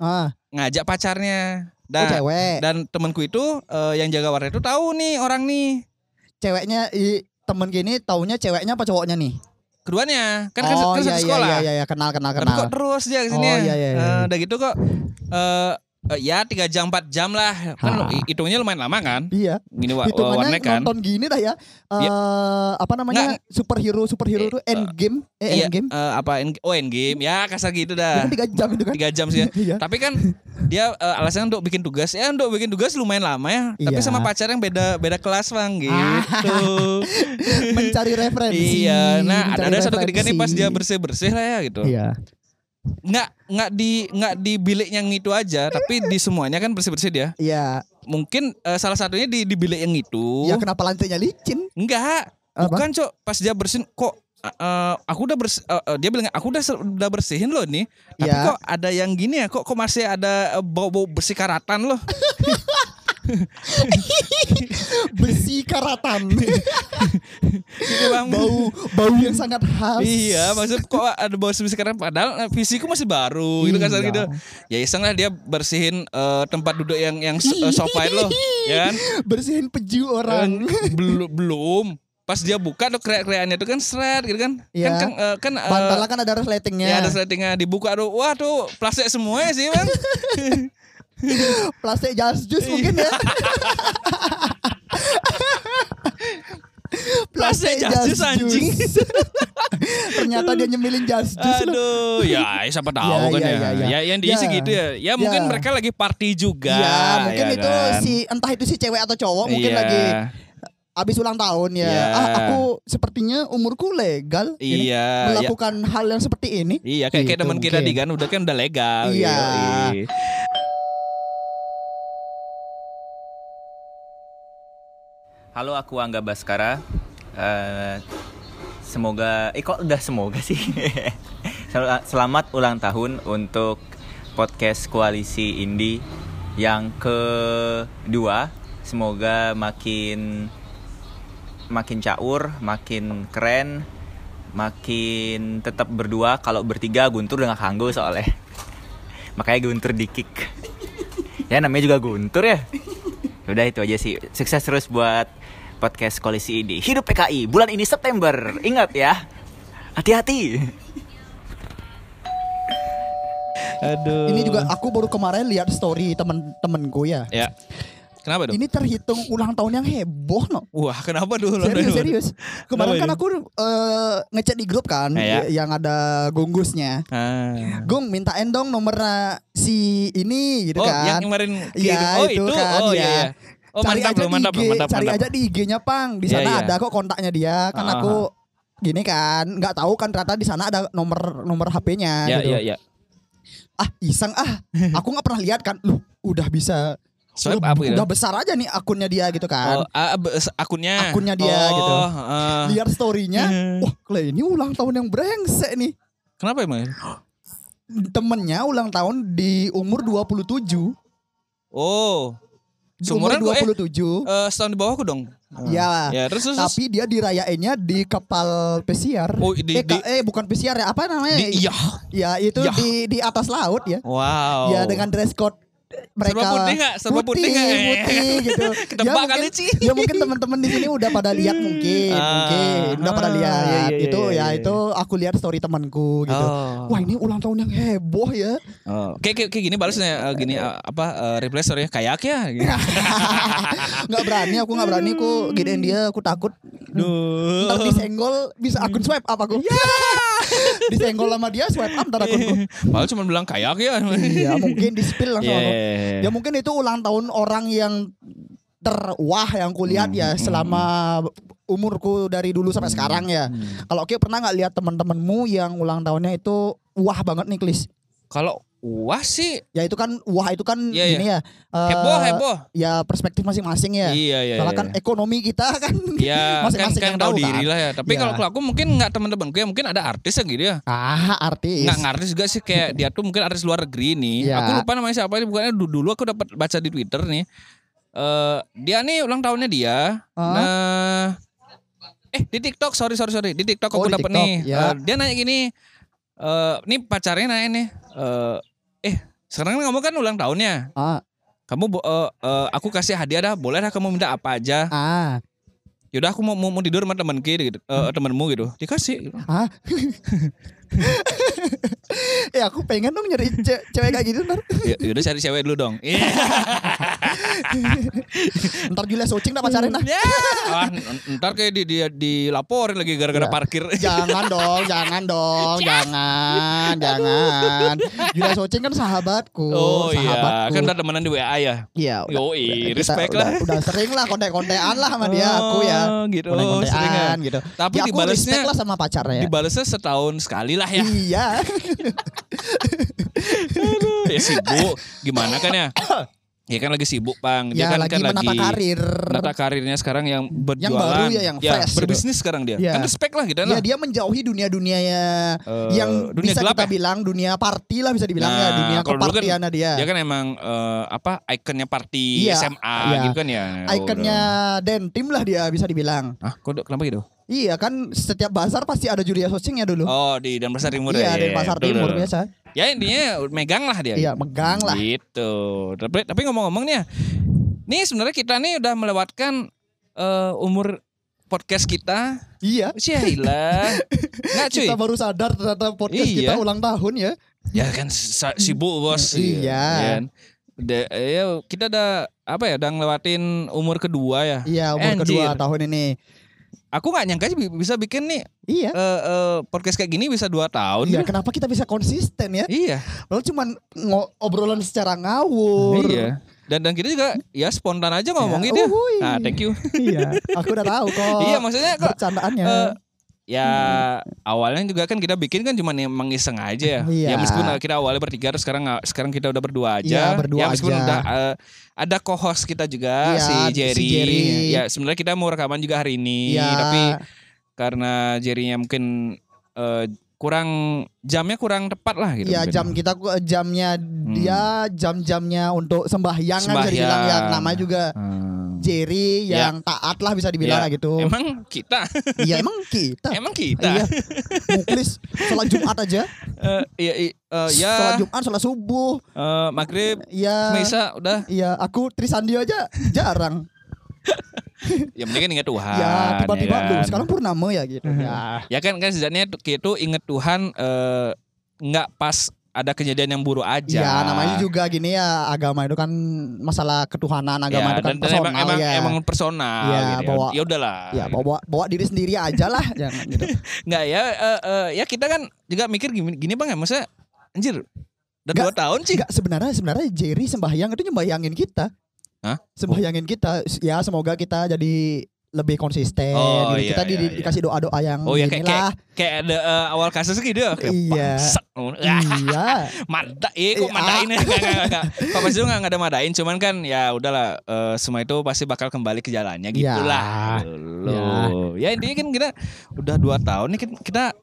[SPEAKER 5] ah,
[SPEAKER 4] ngajak pacarnya.
[SPEAKER 5] oh,
[SPEAKER 4] Dan
[SPEAKER 5] cewek.
[SPEAKER 4] dan temanku itu eh, yang jaga warnet itu tahu nih orang nih.
[SPEAKER 5] Ceweknya i, temen gini taunya ceweknya apa cowoknya nih?
[SPEAKER 4] Keduanya kan kan,
[SPEAKER 5] oh,
[SPEAKER 4] kan
[SPEAKER 5] iya,
[SPEAKER 4] satu
[SPEAKER 5] iya,
[SPEAKER 4] sekolah.
[SPEAKER 5] Iya, iya, iya, kenal kenal
[SPEAKER 4] Tapi
[SPEAKER 5] kenal.
[SPEAKER 4] kok terus dia ke sini.
[SPEAKER 5] Oh, iya, iya, iya.
[SPEAKER 4] Eh, udah gitu kok eh eh, ya tiga jam 4 jam lah kan
[SPEAKER 5] Ha.
[SPEAKER 4] hi- hitungnya lumayan lama kan
[SPEAKER 5] Iya.
[SPEAKER 4] gini wa, wa-
[SPEAKER 5] hitungannya
[SPEAKER 4] warnet kan
[SPEAKER 5] nonton gini dah ya. Eh
[SPEAKER 4] Iya.
[SPEAKER 5] apa namanya? superhero superhero
[SPEAKER 4] Eh,
[SPEAKER 5] tuh end game eh
[SPEAKER 4] Iya,
[SPEAKER 5] end game.
[SPEAKER 4] eh, apa end- oh end game ya kasar gitu dah
[SPEAKER 5] Ya kan 3 jam itu kan.
[SPEAKER 4] tiga jam sih ya.
[SPEAKER 5] Iya.
[SPEAKER 4] tapi kan dia eh, alasannya untuk bikin tugas ya untuk bikin tugas lumayan lama ya tapi
[SPEAKER 5] Iya.
[SPEAKER 4] sama pacar yang beda beda kelas bang gitu
[SPEAKER 5] mencari referensi.
[SPEAKER 4] iya nah ada
[SPEAKER 5] mencari
[SPEAKER 4] ada satu ketika nih pas
[SPEAKER 5] referensi.
[SPEAKER 4] dia bersih bersih lah ya gitu
[SPEAKER 5] Iya.
[SPEAKER 4] nggak nggak di nggak di bilik yang itu aja tapi di semuanya kan bersih bersih dia
[SPEAKER 5] Iya.
[SPEAKER 4] mungkin eh, salah satunya di di bilik yang itu
[SPEAKER 5] Ya kenapa lantainya licin?
[SPEAKER 4] enggak
[SPEAKER 5] Apa?
[SPEAKER 4] bukan cok pas dia bersihin kok eh, eh, aku udah bersih dia bilang aku udah ser- udah bersihin loh nih tapi
[SPEAKER 5] Ya.
[SPEAKER 4] kok ada yang gini ya kok kok masih ada eh, bau-bau bersih karatan loh
[SPEAKER 5] Besi karatan.
[SPEAKER 4] Gitu, Bang.
[SPEAKER 5] bau bau yang sangat khas.
[SPEAKER 4] Iya, maksud kok ada bau bersih karatan padahal eh, visiku masih baru gitu kasar
[SPEAKER 5] Iya.
[SPEAKER 4] gitu. Ya iseng lah dia bersihin eh, tempat duduk yang yang s- eh, sofa itu loh, ya kan?
[SPEAKER 5] Bersihin peju orang.
[SPEAKER 3] Kan
[SPEAKER 4] Eh, Belum belum. Pas dia buka tuh kreak-kreannya tuh kan seret gitu kan.
[SPEAKER 5] Iya.
[SPEAKER 4] Kan kan eh, kan eh,
[SPEAKER 5] Bantalnya kan ada
[SPEAKER 4] Ya
[SPEAKER 5] resletingnya.
[SPEAKER 4] ada settingnya dibuka tuh. Wah tuh plastik semuanya sih bang.
[SPEAKER 5] Plastik
[SPEAKER 3] Iya.
[SPEAKER 5] jas jus mungkin ya.
[SPEAKER 4] Plastik jas jus, anjing.
[SPEAKER 5] ternyata dia nyemilin jas jus loh.
[SPEAKER 3] Aduh, ya siapa tahu
[SPEAKER 5] Ya,
[SPEAKER 3] kan
[SPEAKER 5] ya,
[SPEAKER 3] ya. Ya,
[SPEAKER 5] ya, ya.
[SPEAKER 3] yang diisi
[SPEAKER 5] Ya.
[SPEAKER 3] gitu ya. Ya mungkin
[SPEAKER 5] Ya.
[SPEAKER 3] mereka lagi party juga.
[SPEAKER 5] Ya, mungkin
[SPEAKER 3] ya
[SPEAKER 5] itu
[SPEAKER 3] kan?
[SPEAKER 5] si entah itu si cewek atau cowok mungkin
[SPEAKER 3] Iya.
[SPEAKER 5] lagi habis ulang tahun ya.
[SPEAKER 3] Iya.
[SPEAKER 5] Ah, aku sepertinya umurku legal ini
[SPEAKER 3] Iya, ya.
[SPEAKER 5] melakukan hal yang seperti ini.
[SPEAKER 3] Iya, kayak, kayak
[SPEAKER 5] Gitu
[SPEAKER 3] teman kita
[SPEAKER 5] mungkin.
[SPEAKER 3] di kan udah kan udah legal.
[SPEAKER 5] Iya.
[SPEAKER 3] yoi.
[SPEAKER 7] Halo, aku Angga Baskara. Eh, semoga, eh kok udah semoga sih. Sel- Selamat ulang tahun untuk podcast koalisi Indi yang kedua. Semoga makin makin caur, makin keren, makin tetap berdua. Kalau bertiga Guntur udah gak kanggo soalnya. Makanya Guntur di kick. Ya namanya juga Guntur ya. Udah itu aja sih. Sukses terus buat podcast koalisi ini. Hidup PKI bulan ini September. Ingat ya. Hati-hati.
[SPEAKER 3] Aduh.
[SPEAKER 5] Ini juga aku baru kemarin lihat story temen-temenku ya.
[SPEAKER 3] Ya. Kenapa dong?
[SPEAKER 5] Ini terhitung ulang tahun yang heboh no.
[SPEAKER 3] Wah, kenapa dulu?
[SPEAKER 5] Serius, serius. Kemarin
[SPEAKER 3] Kenapa
[SPEAKER 5] kan
[SPEAKER 3] ini?
[SPEAKER 5] aku eh, ngechat di grup kan
[SPEAKER 3] Ya, ya.
[SPEAKER 5] yang ada gungusnya.
[SPEAKER 3] Ah.
[SPEAKER 5] Gung mintain dong nomornya si ini gitu
[SPEAKER 3] oh,
[SPEAKER 5] kan.
[SPEAKER 3] yang kemarin
[SPEAKER 5] Iya,
[SPEAKER 3] kirim. Oh,
[SPEAKER 5] itu
[SPEAKER 3] itu.
[SPEAKER 5] kan,
[SPEAKER 3] oh,
[SPEAKER 5] ya.
[SPEAKER 3] iya. iya. Oh,
[SPEAKER 5] cari
[SPEAKER 3] mantap
[SPEAKER 5] aja
[SPEAKER 3] loh, mantap
[SPEAKER 5] di
[SPEAKER 3] loh,
[SPEAKER 5] IG,
[SPEAKER 3] mantap,
[SPEAKER 5] cari
[SPEAKER 3] mantap.
[SPEAKER 5] aja di IG-nya Pang. Di
[SPEAKER 3] Iya,
[SPEAKER 5] sana
[SPEAKER 3] iya.
[SPEAKER 5] ada kok kontaknya dia. Kan
[SPEAKER 3] Ah,
[SPEAKER 5] aku gini kan, nggak tahu kan ternyata di sana ada nomor nomor HP-nya
[SPEAKER 3] Ya,
[SPEAKER 5] gitu.
[SPEAKER 3] ya, ya.
[SPEAKER 5] Ah, iseng ah. Aku nggak pernah lihat kan. Lu udah bisa
[SPEAKER 3] Swipe
[SPEAKER 5] lu-
[SPEAKER 3] up gitu.
[SPEAKER 5] Udah besar aja nih akunnya dia gitu
[SPEAKER 3] Oh,
[SPEAKER 5] kan.
[SPEAKER 3] ah, be- akunnya.
[SPEAKER 5] Akunnya
[SPEAKER 3] oh,
[SPEAKER 5] dia, gitu.
[SPEAKER 3] ah. Iya.
[SPEAKER 5] Lihat story-nya, wah, lah ini ulang tahun yang brengsek nih.
[SPEAKER 3] Kenapa emang?
[SPEAKER 5] Temennya ulang tahun di umur 27.
[SPEAKER 3] Oh,
[SPEAKER 5] Di
[SPEAKER 3] Seumuran gua,
[SPEAKER 5] umur
[SPEAKER 3] eh.
[SPEAKER 5] 27.
[SPEAKER 3] eh setahun di bawahku dong.
[SPEAKER 5] Ya.
[SPEAKER 3] Ya, terus terus. terus.
[SPEAKER 5] Tapi dia dirayainnya di kapal pesiar.
[SPEAKER 3] Oh, di,
[SPEAKER 5] eh,
[SPEAKER 3] di,
[SPEAKER 5] ka- eh, bukan pesiar ya, apa namanya?
[SPEAKER 3] di, iya.
[SPEAKER 5] Ya itu
[SPEAKER 3] Yah.
[SPEAKER 5] di di atas laut ya.
[SPEAKER 3] Wow.
[SPEAKER 5] Ya dengan dress code eh,
[SPEAKER 3] Oh.
[SPEAKER 5] mereka
[SPEAKER 3] Serba putih nggak? Serba putih nggak? Eh.
[SPEAKER 5] putih gitu.
[SPEAKER 3] Ketebak
[SPEAKER 5] ya, mungkin,
[SPEAKER 3] kali, Ci.
[SPEAKER 5] ya mungkin teman-teman di sini udah pada lihat mungkin,
[SPEAKER 3] Ah,
[SPEAKER 5] mungkin udah pada
[SPEAKER 3] ah,
[SPEAKER 5] lihat.
[SPEAKER 3] iya, iya,
[SPEAKER 5] itu
[SPEAKER 3] iya,
[SPEAKER 5] ya
[SPEAKER 3] iya.
[SPEAKER 5] itu aku lihat story temanku gitu.
[SPEAKER 3] Oh.
[SPEAKER 5] Wah, ini ulang tahun yang heboh ya.
[SPEAKER 3] Oh. Kayak, kayak, kayak gini balasnya eh, gini eh, apa eh, reply story kayak ya. Gitu.
[SPEAKER 5] nggak berani, aku nggak berani aku gedein dia, aku takut.
[SPEAKER 3] Duh.
[SPEAKER 5] Ntar disenggol bisa akun swipe up aku.
[SPEAKER 3] Iya.
[SPEAKER 5] disenggol sama dia swipe up ntar akunku.
[SPEAKER 3] Padahal cuma bilang kayak ya.
[SPEAKER 5] Iya, mungkin di spill langsung aku.
[SPEAKER 4] Iya.
[SPEAKER 3] Yeah.
[SPEAKER 5] Ya mungkin itu ulang tahun orang yang terwah yang kulihat ya selama umurku dari dulu sampai sekarang ya. Kalau oke pernah nggak lihat teman-temanmu yang ulang tahunnya itu wah banget nih Klis.
[SPEAKER 3] Kalau wah sih
[SPEAKER 5] Ya itu kan wah itu kan
[SPEAKER 3] Iya,
[SPEAKER 5] gini ya. eh,
[SPEAKER 3] heboh heboh.
[SPEAKER 5] Ya perspektif masing-masing ya.
[SPEAKER 3] Iya iya.
[SPEAKER 5] Soalnya
[SPEAKER 3] iya.
[SPEAKER 5] kan ekonomi kita kan
[SPEAKER 4] Iya,
[SPEAKER 3] Ya, kan,
[SPEAKER 5] masing-masing
[SPEAKER 3] kan
[SPEAKER 5] yang
[SPEAKER 3] tahu
[SPEAKER 5] tahu,
[SPEAKER 3] diri
[SPEAKER 5] kan.
[SPEAKER 3] lah ya. Tapi
[SPEAKER 5] Iya.
[SPEAKER 3] kalau kalau aku mungkin nggak teman-teman gue, mungkin ada artis yang gitu ya.
[SPEAKER 5] ah artis.
[SPEAKER 3] Nggak nggak artis juga sih kayak dia tuh mungkin artis luar negeri nih.
[SPEAKER 5] Iya.
[SPEAKER 3] Aku lupa namanya siapa nih. Bukannya du- dulu aku dapat baca di Twitter nih. Eh dia nih ulang tahunnya dia.
[SPEAKER 5] Hah?
[SPEAKER 3] Nah, eh di TikTok, sorry sorry sorry, di TikTok
[SPEAKER 5] Oh,
[SPEAKER 3] aku
[SPEAKER 5] di
[SPEAKER 3] dapat
[SPEAKER 5] TikTok,
[SPEAKER 3] nih.
[SPEAKER 5] ya.
[SPEAKER 3] Eh, dia nanya gini, eh nih pacarnya nanya nih, eh eh sekarang kamu kan ulang tahunnya.
[SPEAKER 5] Ah,
[SPEAKER 3] Kamu bo- eh, eh, aku kasih hadiah dah, boleh dah kamu minta apa aja.
[SPEAKER 5] ah,
[SPEAKER 3] Yaudah aku mau mau, mau tidur sama teman ki gitu, eh, temanmu gitu. Dikasih. gitu.
[SPEAKER 5] ah. eh aku pengen dong nyari ce- cewek kayak gitu ntar.
[SPEAKER 3] Ya- Yaudah cari cewek dulu dong. Iya.
[SPEAKER 5] Ntar Julia Socing dah pacarin ah. dah.
[SPEAKER 3] Ya. Wah, n- ntar kayak di, di, dilaporin lagi
[SPEAKER 5] Iya.
[SPEAKER 3] gara-gara parkir.
[SPEAKER 5] Jangan dong, jangan dong, jangan, jangan. Julia Socing kan sahabatku,
[SPEAKER 3] Oh iya,
[SPEAKER 5] sahabatku.
[SPEAKER 3] kan udah temenan di WA ya.
[SPEAKER 5] Iya, udah-
[SPEAKER 3] Yoi,
[SPEAKER 5] kita
[SPEAKER 3] respect
[SPEAKER 5] udah,
[SPEAKER 3] lah.
[SPEAKER 5] Udah sering lah kontek-kontekan lah sama dia, aku ya.
[SPEAKER 3] Oh, gitu.
[SPEAKER 5] Kontek-kontekan
[SPEAKER 3] Seringan.
[SPEAKER 5] gitu.
[SPEAKER 3] Tapi
[SPEAKER 5] ya, aku
[SPEAKER 3] dibalasnya
[SPEAKER 5] respect lah sama pacarnya. ya.
[SPEAKER 3] dibalasnya setahun sekali lah ya.
[SPEAKER 5] Iya.
[SPEAKER 3] ya sibuk gimana kan ya? Ya kan lagi sibuk, Bang.
[SPEAKER 5] ya
[SPEAKER 3] Dia kan
[SPEAKER 5] lagi
[SPEAKER 3] kan
[SPEAKER 5] menata
[SPEAKER 3] lagi
[SPEAKER 5] karir.
[SPEAKER 3] menata karirnya sekarang yang berjualan.
[SPEAKER 5] baru ya, yang fresh gitu.
[SPEAKER 3] berbisnis sekarang dia.
[SPEAKER 5] Ya.
[SPEAKER 3] Kan respect lah gitu
[SPEAKER 5] Ya
[SPEAKER 3] lah.
[SPEAKER 5] dia menjauhi dunia-dunia ya
[SPEAKER 3] Eh,
[SPEAKER 5] yang
[SPEAKER 3] dunia
[SPEAKER 5] bisa
[SPEAKER 3] gelap
[SPEAKER 5] kita
[SPEAKER 3] ya?
[SPEAKER 5] bilang dunia party lah bisa dibilang ya
[SPEAKER 3] Nah,
[SPEAKER 5] dunia
[SPEAKER 3] kalau dulu kan
[SPEAKER 5] kepartiannya dia.
[SPEAKER 3] Dia kan emang eh, apa ikonnya party
[SPEAKER 5] Iya,
[SPEAKER 3] SMA
[SPEAKER 5] iya.
[SPEAKER 3] gitu kan ya.
[SPEAKER 5] Ikonnya Dentim lah dia bisa dibilang.
[SPEAKER 3] Ah, kok kenapa gitu?
[SPEAKER 5] Iya kan setiap pasar pasti ada Julia Socingnya dulu.
[SPEAKER 3] Oh, di Denpasar Timur
[SPEAKER 5] iya,
[SPEAKER 3] ya.
[SPEAKER 5] dari pasar
[SPEAKER 3] Betul,
[SPEAKER 5] timur
[SPEAKER 3] betul.
[SPEAKER 5] biasa.
[SPEAKER 3] Ya intinya megang lah dia.
[SPEAKER 5] Iya, megang lah.
[SPEAKER 3] Gitu. Tapi tapi ngomong-ngomong nih, ya, nih sebenarnya kita nih udah melewatkan eh, umur podcast kita.
[SPEAKER 5] Iya.
[SPEAKER 3] Cihilah. Enggak cuy.
[SPEAKER 5] Kita baru sadar ternyata podcast
[SPEAKER 3] Iya.
[SPEAKER 5] kita ulang tahun ya.
[SPEAKER 3] Ya kan sa- sibuk bos.
[SPEAKER 5] Iya.
[SPEAKER 3] Kan? Udah, eh, ya, kita udah apa ya udah ngelewatin umur kedua ya.
[SPEAKER 5] Iya, umur
[SPEAKER 3] Anjir.
[SPEAKER 5] kedua tahun ini.
[SPEAKER 3] aku nggak nyangka sih bi- bisa bikin nih
[SPEAKER 5] Iya.
[SPEAKER 3] eh, eh, podcast kayak gini bisa dua tahun.
[SPEAKER 5] Iya, kenapa kita bisa konsisten ya?
[SPEAKER 3] Iya.
[SPEAKER 5] Lalu cuman ngo- obrolan secara ngawur.
[SPEAKER 3] Iya. Dan dan kita juga ya spontan aja ngomongin
[SPEAKER 5] Ya,
[SPEAKER 3] ya.
[SPEAKER 5] uhuy.
[SPEAKER 3] Nah, thank you.
[SPEAKER 5] iya, aku udah tahu kok.
[SPEAKER 3] iya, maksudnya kok
[SPEAKER 5] bercandaannya.
[SPEAKER 3] eh, ya awalnya juga kan kita bikin kan cuma emang iseng aja ya.
[SPEAKER 5] Iya.
[SPEAKER 3] Ya meskipun kita awalnya bertiga terus sekarang nggak- sekarang kita udah berdua aja.
[SPEAKER 5] Iya, berdua
[SPEAKER 3] ya meskipun
[SPEAKER 5] aja.
[SPEAKER 3] udah eh, ada co-host kita juga
[SPEAKER 5] Iya,
[SPEAKER 3] si
[SPEAKER 5] si
[SPEAKER 3] Jerry.
[SPEAKER 5] Jerry.
[SPEAKER 3] Ya sebenarnya kita mau rekaman juga hari ini,
[SPEAKER 5] Iya.
[SPEAKER 3] tapi karena Jerry-nya mungkin eh, kurang jamnya kurang tepat lah gitu.
[SPEAKER 5] Iya,
[SPEAKER 3] mungkin.
[SPEAKER 5] jam kita ku- jamnya dia jam-jamnya untuk sembahyang kan bisa
[SPEAKER 3] Hmm. Sembahyang.
[SPEAKER 5] dibilang yang nama juga
[SPEAKER 3] Hmm.
[SPEAKER 5] Jerry
[SPEAKER 3] Iya.
[SPEAKER 5] yang taat lah bisa dibilang
[SPEAKER 3] Iya.
[SPEAKER 5] lah gitu.
[SPEAKER 3] Emang kita,
[SPEAKER 5] Iya emang kita.
[SPEAKER 3] emang kita.
[SPEAKER 5] Iya. Muklis sholat Jumat aja.
[SPEAKER 3] Eh, iya, iya, eh, ya,
[SPEAKER 5] Sholat Jumat, sholat subuh.
[SPEAKER 3] eh, maghrib,
[SPEAKER 5] Iya.
[SPEAKER 3] Mesa udah.
[SPEAKER 5] Iya, aku Trisandio aja jarang.
[SPEAKER 3] Ya mendingan ingat Tuhan.
[SPEAKER 5] ya, tiba-tiba
[SPEAKER 3] ya
[SPEAKER 5] lu
[SPEAKER 3] kan?
[SPEAKER 5] sekarang purnama ya gitu. ya.
[SPEAKER 3] Ya kan kan setidaknya itu ingat Tuhan eh, nggak pas ada kejadian yang buruk aja.
[SPEAKER 5] Ya, namanya juga gini ya agama itu kan masalah ketuhanan, agama
[SPEAKER 3] ya,
[SPEAKER 5] itu kan
[SPEAKER 3] dan- dan
[SPEAKER 5] personal
[SPEAKER 3] emang, emang,
[SPEAKER 5] ya.
[SPEAKER 3] emang personal.
[SPEAKER 5] Iya,
[SPEAKER 3] gitu ya.
[SPEAKER 5] bawa-
[SPEAKER 3] ya udahlah.
[SPEAKER 5] ya bawa bawa diri sendiri aja lah jangan gitu.
[SPEAKER 3] Nggak ya, eh, eh, ya kita kan juga mikir gini, gini bang ya, maksudnya anjir udah
[SPEAKER 5] Nggak-
[SPEAKER 3] dua tahun sih.
[SPEAKER 5] Enggak sebenarnya sebenarnya Jerry sembahyang itu nyembayangin kita.
[SPEAKER 3] Hah?
[SPEAKER 5] Sembahyangin kita. Ya semoga kita jadi lebih konsisten.
[SPEAKER 3] Oh,
[SPEAKER 5] gitu.
[SPEAKER 3] iya,
[SPEAKER 5] kita di-
[SPEAKER 3] iya,
[SPEAKER 5] di-
[SPEAKER 3] iya.
[SPEAKER 5] dikasih doa-doa yang
[SPEAKER 3] Oh, iya, kayak-
[SPEAKER 5] inilah.
[SPEAKER 3] Kayak ada eh, awal kasus gitu. Kayak
[SPEAKER 5] Iya.
[SPEAKER 3] bangsat. Ah,
[SPEAKER 5] iya.
[SPEAKER 3] Mada, eh kok
[SPEAKER 5] Iya.
[SPEAKER 3] madain ya? Enggak, enggak, enggak. Kok pasti lu enggak enggak ada madain, cuman kan ya udahlah eh, semua itu pasti bakal kembali ke jalannya
[SPEAKER 5] Iya.
[SPEAKER 3] gitulah. Loh. Ya. intinya kan kita udah dua tahun nih kita, kita-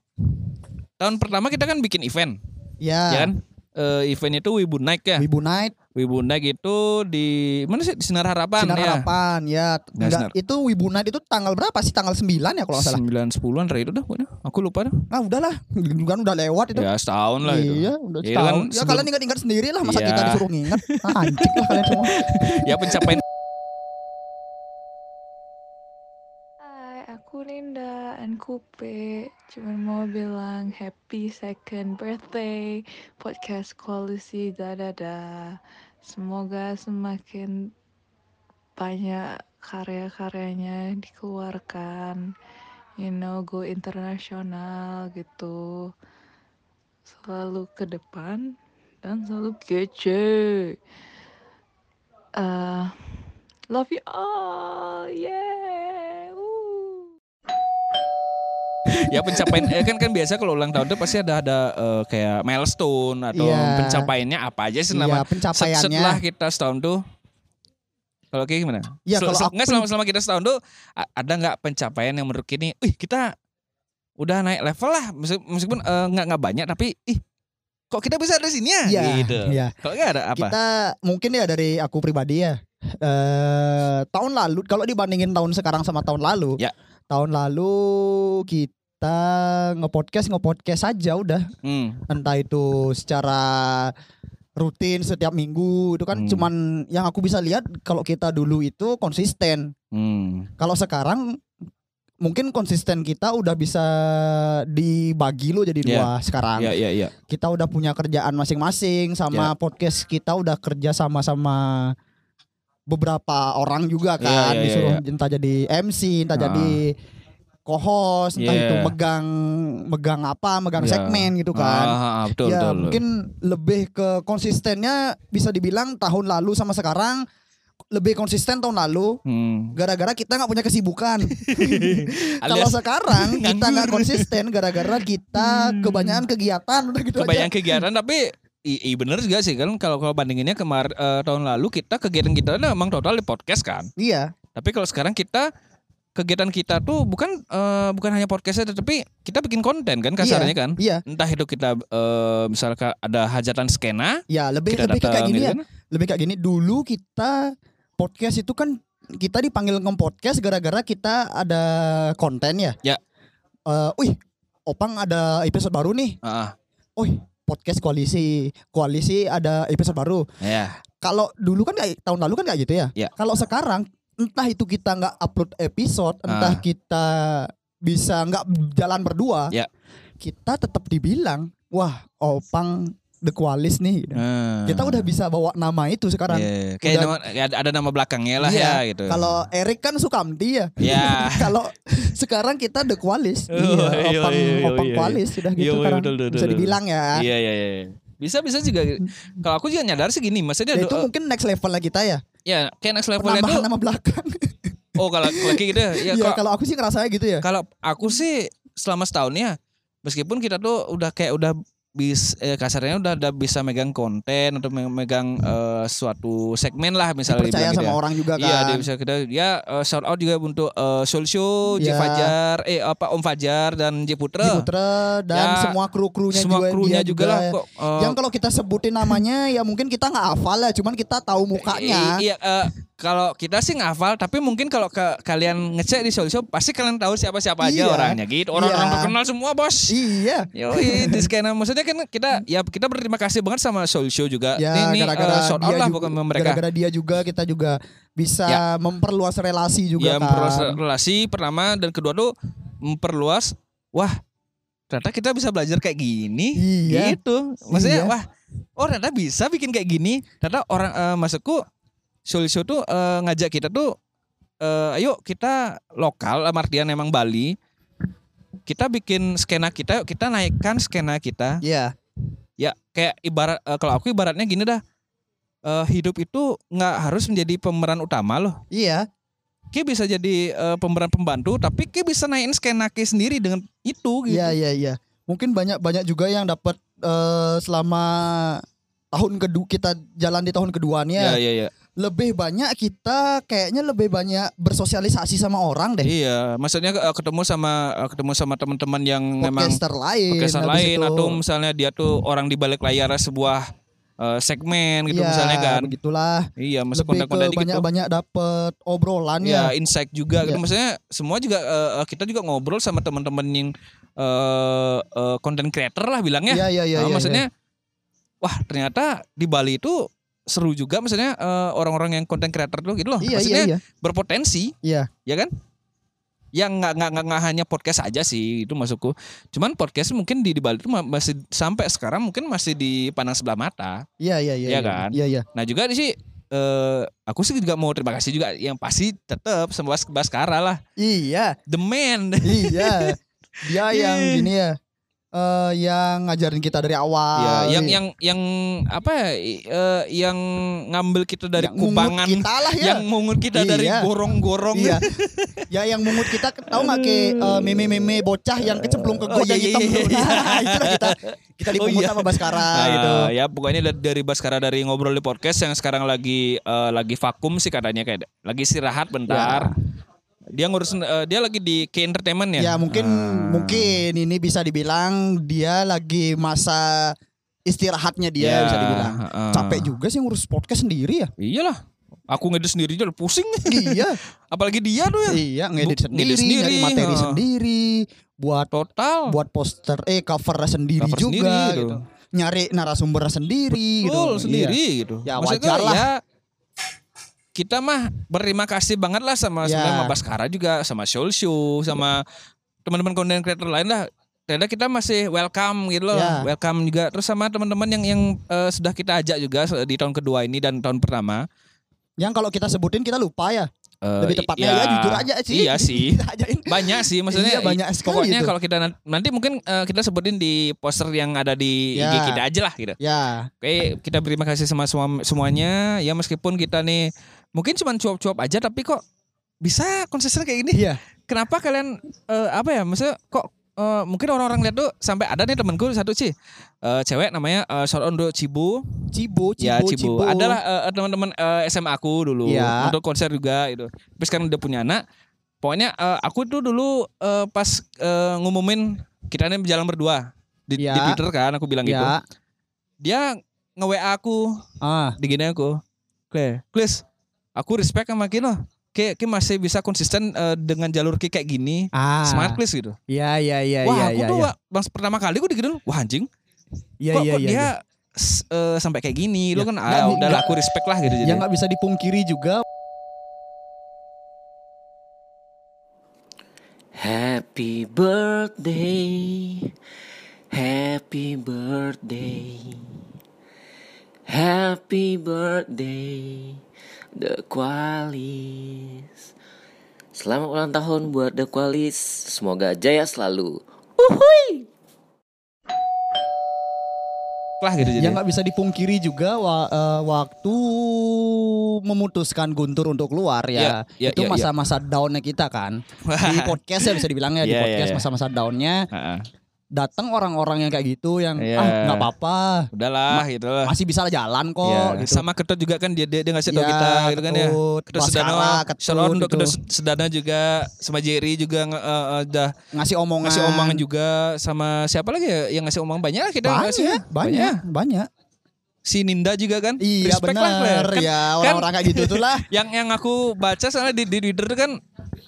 [SPEAKER 3] tahun pertama kita kan bikin event,
[SPEAKER 5] Ya.
[SPEAKER 3] ya kan? Eh, event itu Wibu Night ya.
[SPEAKER 5] Wibu Night,
[SPEAKER 3] Wibu Night itu di mana sih? Di Sinar Harapan
[SPEAKER 5] Sinar
[SPEAKER 3] ya.
[SPEAKER 5] Harapan, ya.
[SPEAKER 3] Nggak,
[SPEAKER 5] Nggak, itu Wibu Night itu tanggal berapa sih? Tanggal 9 ya kalau nggak salah.
[SPEAKER 3] 9-10-an dari itu dah, pokoknya. aku lupa dah.
[SPEAKER 5] Nah, udahlah. Kan udah lewat itu.
[SPEAKER 3] Ya setahun lah itu.
[SPEAKER 5] Iya, udah
[SPEAKER 3] Iya,
[SPEAKER 5] setahun.
[SPEAKER 3] kan
[SPEAKER 5] ya
[SPEAKER 3] sebelum-
[SPEAKER 5] kalian ingat-ingat sendiri lah masa
[SPEAKER 3] Iya.
[SPEAKER 5] kita disuruh nginget. Ah, anjing lah kalian semua.
[SPEAKER 3] Ya pencapaian
[SPEAKER 8] Hai, aku Rinda and Kupe. Cuman mau bilang happy second birthday podcast koalisi dadada. Semoga semakin banyak karya-karyanya dikeluarkan. You know, go internasional gitu. Selalu ke depan dan selalu kece. Eh, love you all. Yeah. Woo.
[SPEAKER 3] ya pencapaian eh, kan kan biasa kalau ulang tahun tuh pasti ada ada eh, kayak milestone atau
[SPEAKER 5] Iya.
[SPEAKER 3] pencapaiannya apa aja sih
[SPEAKER 5] Iya,
[SPEAKER 3] nama Set-
[SPEAKER 5] pencapaiannya.
[SPEAKER 3] setelah kita setahun tuh kalau kayak gimana?
[SPEAKER 5] Iya,
[SPEAKER 3] Sel-
[SPEAKER 5] kalau
[SPEAKER 3] sel-
[SPEAKER 5] aku
[SPEAKER 3] nggak, selama selama kita setahun tuh a- ada nggak pencapaian yang menurut kini, ih kita udah naik level lah Meskip- meskipun eh, nggak nggak banyak tapi ih kok kita bisa ada sini ya
[SPEAKER 5] Iya,
[SPEAKER 3] gitu.
[SPEAKER 5] iya.
[SPEAKER 3] Kalau nggak ada apa?
[SPEAKER 5] Kita mungkin ya dari aku pribadi ya. Eh tahun lalu kalau dibandingin tahun sekarang sama tahun lalu.
[SPEAKER 3] Ya.
[SPEAKER 5] Tahun lalu kita nge-podcast nge-podcast saja udah.
[SPEAKER 3] Hmm.
[SPEAKER 5] Entah itu secara rutin setiap minggu itu kan
[SPEAKER 3] Hmm.
[SPEAKER 5] cuman yang aku bisa lihat kalau kita dulu itu konsisten.
[SPEAKER 3] Hmm.
[SPEAKER 5] Kalau sekarang mungkin konsisten kita udah bisa dibagi lo jadi dua sekarang.
[SPEAKER 3] Iya, iya, iya.
[SPEAKER 5] Kita udah punya kerjaan masing-masing
[SPEAKER 3] Ya.
[SPEAKER 5] sama podcast kita udah kerja sama-sama beberapa orang juga
[SPEAKER 3] Iya,
[SPEAKER 5] kan
[SPEAKER 3] iya, iya,
[SPEAKER 5] disuruh entah jadi MC, entah
[SPEAKER 3] Ah.
[SPEAKER 5] jadi co-host, entah
[SPEAKER 3] Iya.
[SPEAKER 5] itu megang megang apa, megang
[SPEAKER 3] Iya.
[SPEAKER 5] segmen gitu
[SPEAKER 3] Ah,
[SPEAKER 5] kan.
[SPEAKER 3] ah, ah, betul,
[SPEAKER 5] ya
[SPEAKER 3] betul.
[SPEAKER 5] mungkin lebih ke konsistennya bisa dibilang tahun lalu sama sekarang lebih konsisten tahun lalu
[SPEAKER 3] Hmm.
[SPEAKER 5] gara-gara kita nggak punya kesibukan. Kalau
[SPEAKER 3] Alias
[SPEAKER 5] sekarang kita nggak
[SPEAKER 3] Nganggur. Hmm.
[SPEAKER 5] konsisten gara-gara kita kebanyakan kegiatan udah gitu
[SPEAKER 3] kebayang
[SPEAKER 5] aja.
[SPEAKER 3] kegiatan tapi i, i bener juga sih kan kalau kalau bandinginnya kemar eh, tahun lalu kita kegiatan kita tuh emang total di podcast kan
[SPEAKER 5] Iya,
[SPEAKER 3] tapi kalau sekarang kita kegiatan kita tuh bukan eh, bukan hanya podcastnya tapi kita bikin konten kan kasarnya kan
[SPEAKER 5] iya,
[SPEAKER 3] entah itu kita eh, misalkan ada hajatan skena
[SPEAKER 5] ya lebih
[SPEAKER 3] kita
[SPEAKER 5] lebih ke kayak
[SPEAKER 3] datang
[SPEAKER 5] gini
[SPEAKER 3] gitu
[SPEAKER 5] ya.
[SPEAKER 3] kan.
[SPEAKER 5] Lebih kayak gini dulu kita podcast itu kan kita dipanggil nge-podcast gara-gara kita ada konten ya.
[SPEAKER 3] Ya.
[SPEAKER 5] Eh, wih, Opang ada episode baru nih.
[SPEAKER 3] Ah, ah,
[SPEAKER 5] Wih, podcast koalisi. Koalisi ada episode baru.
[SPEAKER 3] ya
[SPEAKER 5] kalau dulu kan kayak tahun lalu kan kayak gitu ya.
[SPEAKER 3] Ya.
[SPEAKER 5] Kalau sekarang entah itu kita nggak upload episode,
[SPEAKER 3] Ah.
[SPEAKER 5] entah kita bisa nggak jalan berdua,
[SPEAKER 3] Ya.
[SPEAKER 5] kita tetap dibilang, wah opang The Qualis nih. gitu.
[SPEAKER 3] Hmm.
[SPEAKER 5] Kita udah bisa bawa nama itu sekarang.
[SPEAKER 3] Iya, kayak
[SPEAKER 5] Udah-
[SPEAKER 3] nama, kayak ada, ada nama belakangnya lah
[SPEAKER 5] Iya,
[SPEAKER 3] ya gitu.
[SPEAKER 5] Kalau Erik kan Sukamti ya.
[SPEAKER 3] Ya.
[SPEAKER 5] Kalau sekarang kita The Qualis.
[SPEAKER 3] Oh,
[SPEAKER 5] iya,
[SPEAKER 3] iya,
[SPEAKER 5] opang,
[SPEAKER 3] iya, iya,
[SPEAKER 5] opang
[SPEAKER 3] iya.
[SPEAKER 5] Qualis sudah
[SPEAKER 3] Iya,
[SPEAKER 5] gitu
[SPEAKER 3] iya,
[SPEAKER 5] sekarang.
[SPEAKER 3] betul, betul,
[SPEAKER 5] Bisa
[SPEAKER 3] betul.
[SPEAKER 5] dibilang ya.
[SPEAKER 3] Iya iya iya. Bisa bisa juga. Kalau aku juga nyadar sih gini, maksudnya
[SPEAKER 5] Ya,
[SPEAKER 3] do-
[SPEAKER 5] itu mungkin next level lah kita ya.
[SPEAKER 3] ya kayak next levelnya
[SPEAKER 5] Penambahan
[SPEAKER 3] tuh.
[SPEAKER 5] nama belakang.
[SPEAKER 3] Oh kalau lagi gitu ya.
[SPEAKER 5] Iya,
[SPEAKER 3] ya kalau-
[SPEAKER 5] kalau aku sih ngerasanya gitu ya.
[SPEAKER 3] Kalau aku sih selama setahun ya, meskipun kita tuh udah kayak udah bis eh, kasarnya udah udah bisa megang konten atau me- megang eh, suatu segmen lah misalnya dibilang
[SPEAKER 5] Percaya
[SPEAKER 3] gitu
[SPEAKER 5] sama
[SPEAKER 3] ya.
[SPEAKER 5] orang juga kan.
[SPEAKER 3] Iya dia bisa kita dia eh, shout out juga untuk eh, Solsho, J
[SPEAKER 5] Iya.
[SPEAKER 3] Fajar, eh apa Om Fajar dan J
[SPEAKER 5] Di
[SPEAKER 3] Putra.
[SPEAKER 5] Putra dan
[SPEAKER 3] Ya,
[SPEAKER 5] semua kru-krunya
[SPEAKER 3] Semua
[SPEAKER 5] juga
[SPEAKER 3] krunya
[SPEAKER 5] dia
[SPEAKER 3] juga lah
[SPEAKER 5] ya.
[SPEAKER 3] kok. eh,
[SPEAKER 5] Yang kalau kita sebutin namanya ya mungkin kita nggak hafal ya, cuman kita tahu mukanya.
[SPEAKER 3] I- Iya, eh, kalau kita sih ngafal, tapi mungkin kalau ke- kalian ngecek di Solshop pasti kalian tahu siapa-siapa aja
[SPEAKER 5] Iya.
[SPEAKER 3] orangnya gitu. Orang-orang
[SPEAKER 5] Iya.
[SPEAKER 3] terkenal semua, Bos.
[SPEAKER 5] Iya.
[SPEAKER 3] Yo, di skena maksudnya kan kita ya kita berterima kasih banget sama Soul Show juga.
[SPEAKER 5] Ya
[SPEAKER 3] ini ini
[SPEAKER 5] gara-gara
[SPEAKER 3] eh, shout
[SPEAKER 5] dia
[SPEAKER 3] out lah
[SPEAKER 5] juga-
[SPEAKER 3] bukan mereka.
[SPEAKER 5] gara-gara dia juga kita juga bisa
[SPEAKER 3] Ya.
[SPEAKER 5] memperluas relasi
[SPEAKER 3] Ya
[SPEAKER 5] juga kan.
[SPEAKER 3] memperluas relasi pertama dan kedua tuh memperluas wah ternyata kita bisa belajar kayak gini
[SPEAKER 5] Iya.
[SPEAKER 3] gitu. Maksudnya
[SPEAKER 5] Iya.
[SPEAKER 3] wah oh ternyata bisa bikin kayak gini. Ternyata orang eh, maksudku Soul Show tuh eh, ngajak kita tuh eh, ayo kita lokal eh, Mardian emang Bali. Kita bikin skena kita, yuk kita naikkan skena kita.
[SPEAKER 5] Iya.
[SPEAKER 3] ya kayak ibarat eh, kalau aku ibaratnya gini dah Eh, hidup itu nggak harus menjadi pemeran utama loh
[SPEAKER 5] Iya.
[SPEAKER 3] Ki bisa jadi eh, pemeran pembantu tapi Ki bisa naikin skena Ki sendiri dengan itu gitu
[SPEAKER 5] Iya iya iya. Mungkin banyak-banyak juga yang dapat eh, selama tahun kedua kita jalan di tahun keduanya
[SPEAKER 3] iya iya
[SPEAKER 5] lebih banyak kita kayaknya lebih banyak bersosialisasi sama orang deh.
[SPEAKER 3] iya maksudnya eh, ketemu sama eh, ketemu sama teman-teman yang memang
[SPEAKER 5] podcaster lain,
[SPEAKER 3] podcaster
[SPEAKER 5] habis
[SPEAKER 3] lain
[SPEAKER 5] itu.
[SPEAKER 3] atau misalnya dia tuh orang di balik layar sebuah eh, segmen gitu
[SPEAKER 5] Iya,
[SPEAKER 3] misalnya kan
[SPEAKER 5] Begitulah.
[SPEAKER 3] iya masuk
[SPEAKER 5] lebih ke
[SPEAKER 3] konten-konten gitu
[SPEAKER 5] banyak-banyak dapat obrolan
[SPEAKER 3] ya
[SPEAKER 5] ya.
[SPEAKER 3] insight juga gitu
[SPEAKER 5] Iya.
[SPEAKER 3] maksudnya semua juga eh, eh, kita juga ngobrol sama teman-teman yang eh eh, content creator lah bilangnya
[SPEAKER 5] Iya iya iya.
[SPEAKER 3] Nah,
[SPEAKER 5] iya,
[SPEAKER 3] maksudnya wah ternyata di Bali itu seru juga maksudnya eh, orang-orang yang content creator tuh gitu loh
[SPEAKER 5] Iya iya
[SPEAKER 3] maksudnya
[SPEAKER 5] iya.
[SPEAKER 3] berpotensi
[SPEAKER 5] Iya.
[SPEAKER 3] ya kan yang nggak nggak nggak- nggak hanya podcast aja sih itu masukku cuman podcast mungkin di, di Bali itu ma- masih sampai sekarang mungkin masih dipandang sebelah mata
[SPEAKER 5] Iya iya iya.
[SPEAKER 3] Iya kan?
[SPEAKER 5] Iya iya.
[SPEAKER 3] Nah juga di sih eh, aku sih juga mau terima kasih juga yang pasti tetap sama Bas- Baskara lah
[SPEAKER 5] Iya.
[SPEAKER 3] the man
[SPEAKER 5] iya dia yang
[SPEAKER 3] Iya.
[SPEAKER 5] gini ya eh yang ngajarin kita dari awal iya.
[SPEAKER 3] ya, yang yang yang apa ya, i- eh, yang ngambil kita dari
[SPEAKER 5] Yang mungut
[SPEAKER 3] kubangan
[SPEAKER 5] kita lah ya
[SPEAKER 3] yang mungut kita
[SPEAKER 5] Iya.
[SPEAKER 3] dari gorong-gorong
[SPEAKER 5] iya ya yang mungut kita tahu nggak ke eh, meme-meme bocah yang kecemplung ke
[SPEAKER 3] Hmm. Oh,
[SPEAKER 5] goda
[SPEAKER 3] iya, iya,
[SPEAKER 5] hitam
[SPEAKER 3] iya,
[SPEAKER 5] dulu.
[SPEAKER 3] iya.
[SPEAKER 5] Nah, itulah kita kita
[SPEAKER 3] Oh,
[SPEAKER 5] dipungut
[SPEAKER 3] iya.
[SPEAKER 5] sama Baskara
[SPEAKER 3] Nah,
[SPEAKER 5] gitu
[SPEAKER 3] ya pokoknya da- dari Baskara dari ngobrol di podcast yang sekarang lagi eh, lagi vakum sih katanya kayak lagi istirahat bentar dia ngurus eh, dia lagi di K Entertainment ya
[SPEAKER 5] ya mungkin mungkin ini bisa dibilang dia lagi masa istirahatnya dia
[SPEAKER 3] Ya,
[SPEAKER 5] Iya, bisa dibilang
[SPEAKER 3] heeh.
[SPEAKER 5] capek juga sih ngurus podcast sendiri ya
[SPEAKER 3] iyalah aku ngedit sendiri aja udah pusing
[SPEAKER 5] iya
[SPEAKER 3] apalagi dia tuh ya
[SPEAKER 5] iya ngedit
[SPEAKER 3] Bu-
[SPEAKER 5] sendiri,
[SPEAKER 3] ngedit sendiri,
[SPEAKER 5] nyari materi
[SPEAKER 3] heeh.
[SPEAKER 5] sendiri buat
[SPEAKER 3] total
[SPEAKER 5] buat poster eh cover sendiri
[SPEAKER 3] Cover
[SPEAKER 5] juga
[SPEAKER 3] sendiri gitu.
[SPEAKER 5] gitu. Nyari narasumber sendiri
[SPEAKER 3] Betul,
[SPEAKER 5] gitu.
[SPEAKER 3] sendiri gitu.
[SPEAKER 5] Ya,
[SPEAKER 3] Maksudnya
[SPEAKER 5] wajar lah.
[SPEAKER 3] ya kita mah berterima kasih banget lah sama
[SPEAKER 5] Ya.
[SPEAKER 3] sebenarnya sama Baskara juga, sama Soul Show, sama teman-teman content creator lain lah. Ternyata kita masih welcome gitu loh,
[SPEAKER 5] Ya.
[SPEAKER 3] welcome juga. Terus sama teman-teman yang yang eh, sudah kita ajak juga di tahun kedua ini dan tahun pertama.
[SPEAKER 5] Iya. Yang kalau kita sebutin kita lupa ya.
[SPEAKER 3] Eh,
[SPEAKER 5] Lebih tepatnya
[SPEAKER 3] iya.
[SPEAKER 5] ya jujur aja sih.
[SPEAKER 3] Iya sih.
[SPEAKER 5] Kita ajain.
[SPEAKER 3] Banyak sih maksudnya.
[SPEAKER 5] Iya, banyak sekali
[SPEAKER 3] Pokoknya
[SPEAKER 5] itu.
[SPEAKER 3] kalau kita nan- nanti mungkin eh, kita sebutin di poster yang ada di
[SPEAKER 5] Ya.
[SPEAKER 3] IG kita aja lah gitu.
[SPEAKER 5] Ya,
[SPEAKER 3] Oke, kita berterima kasih sama semua semuanya. Ya meskipun kita nih mungkin cuman cuap-cuap aja tapi kok bisa konsisten kayak gini?
[SPEAKER 5] iya.
[SPEAKER 3] Kenapa kalian eh, apa ya? Maksudnya kok eh, mungkin orang-orang lihat tuh sampai ada nih temanku satu sih cewek namanya eh, shout out untuk Cibu.
[SPEAKER 5] Cibo, Cibo,
[SPEAKER 3] ya Cibu. Adalah eh, teman-teman eh, SMA aku dulu
[SPEAKER 5] Iya.
[SPEAKER 3] untuk konser juga gitu. Tapi sekarang udah punya anak. Pokoknya eh, aku tuh dulu eh, pas eh, ngumumin kita nih berjalan berdua di, di
[SPEAKER 5] Iya.
[SPEAKER 3] Twitter kan aku bilang gitu.
[SPEAKER 5] Ya.
[SPEAKER 3] Dia nge-WA aku
[SPEAKER 5] Ah,
[SPEAKER 3] di gini aku Kle, Klis aku respect sama Ki loh Ki, Ki masih bisa konsisten eh, dengan jalur Ki kayak gini
[SPEAKER 5] ah.
[SPEAKER 3] Smart Klis gitu
[SPEAKER 5] Ya, ya, ya,
[SPEAKER 3] Wah
[SPEAKER 5] ya,
[SPEAKER 3] aku
[SPEAKER 5] ya,
[SPEAKER 3] tuh
[SPEAKER 5] ya.
[SPEAKER 3] Wak, bang, pertama kali gue digituin Wah anjing
[SPEAKER 5] Ya,
[SPEAKER 3] kok,
[SPEAKER 5] ya,
[SPEAKER 3] kok
[SPEAKER 5] ya,
[SPEAKER 3] dia gitu
[SPEAKER 5] ya.
[SPEAKER 3] s- eh, sampai kayak gini Lo
[SPEAKER 5] Ya,
[SPEAKER 3] kan
[SPEAKER 5] nggak
[SPEAKER 3] ah,
[SPEAKER 5] bi-
[SPEAKER 3] udah lah
[SPEAKER 5] nggak-
[SPEAKER 3] aku respect lah gitu
[SPEAKER 5] Yang
[SPEAKER 3] jadi
[SPEAKER 5] nggak bisa dipungkiri juga.
[SPEAKER 9] Happy birthday, happy birthday,
[SPEAKER 10] Happy birthday The Qualis Selamat ulang tahun buat The Qualis Semoga jaya selalu Uhuh.
[SPEAKER 3] Lah gitu jadi.
[SPEAKER 5] Yang ya, nggak bisa dipungkiri juga wa- eh, waktu memutuskan Guntur untuk keluar ya.
[SPEAKER 3] Ya, ya, ya,
[SPEAKER 5] itu
[SPEAKER 3] ya.
[SPEAKER 5] masa-masa down-nya kita kan. di podcast ya bisa dibilang ya di
[SPEAKER 3] Ya, ya,
[SPEAKER 5] podcast
[SPEAKER 3] ya.
[SPEAKER 5] masa-masa down-nya
[SPEAKER 3] Heeh.
[SPEAKER 5] datang orang-orang yang kayak gitu yang
[SPEAKER 3] Ya.
[SPEAKER 5] ah nggak apa-apa,
[SPEAKER 3] Udahlah gitu lah.
[SPEAKER 5] masih bisa jalan kok
[SPEAKER 3] Ya,
[SPEAKER 5] gitu.
[SPEAKER 3] Sama Ketut juga kan dia dia, dia ngasih tau kita gitu kan ya. Ketut Sedano, Shalom
[SPEAKER 5] gitu.
[SPEAKER 3] untuk Ketut Sedano juga, sama Jerry juga nge- eh, eh, udah
[SPEAKER 5] ngasih omongan.
[SPEAKER 3] ngasih omongan juga sama siapa lagi ya yang ngasih omongan banyak lah kita
[SPEAKER 5] banyak,
[SPEAKER 3] ngasih ya.
[SPEAKER 5] banyak, banyak,
[SPEAKER 3] Si Ninda juga kan.
[SPEAKER 5] Iya
[SPEAKER 3] Respect lah,
[SPEAKER 5] benar
[SPEAKER 3] Fer. Kan
[SPEAKER 5] ya orang-orang kayak gitu tuh lah.
[SPEAKER 3] yang yang aku baca soalnya di, di Twitter tuh kan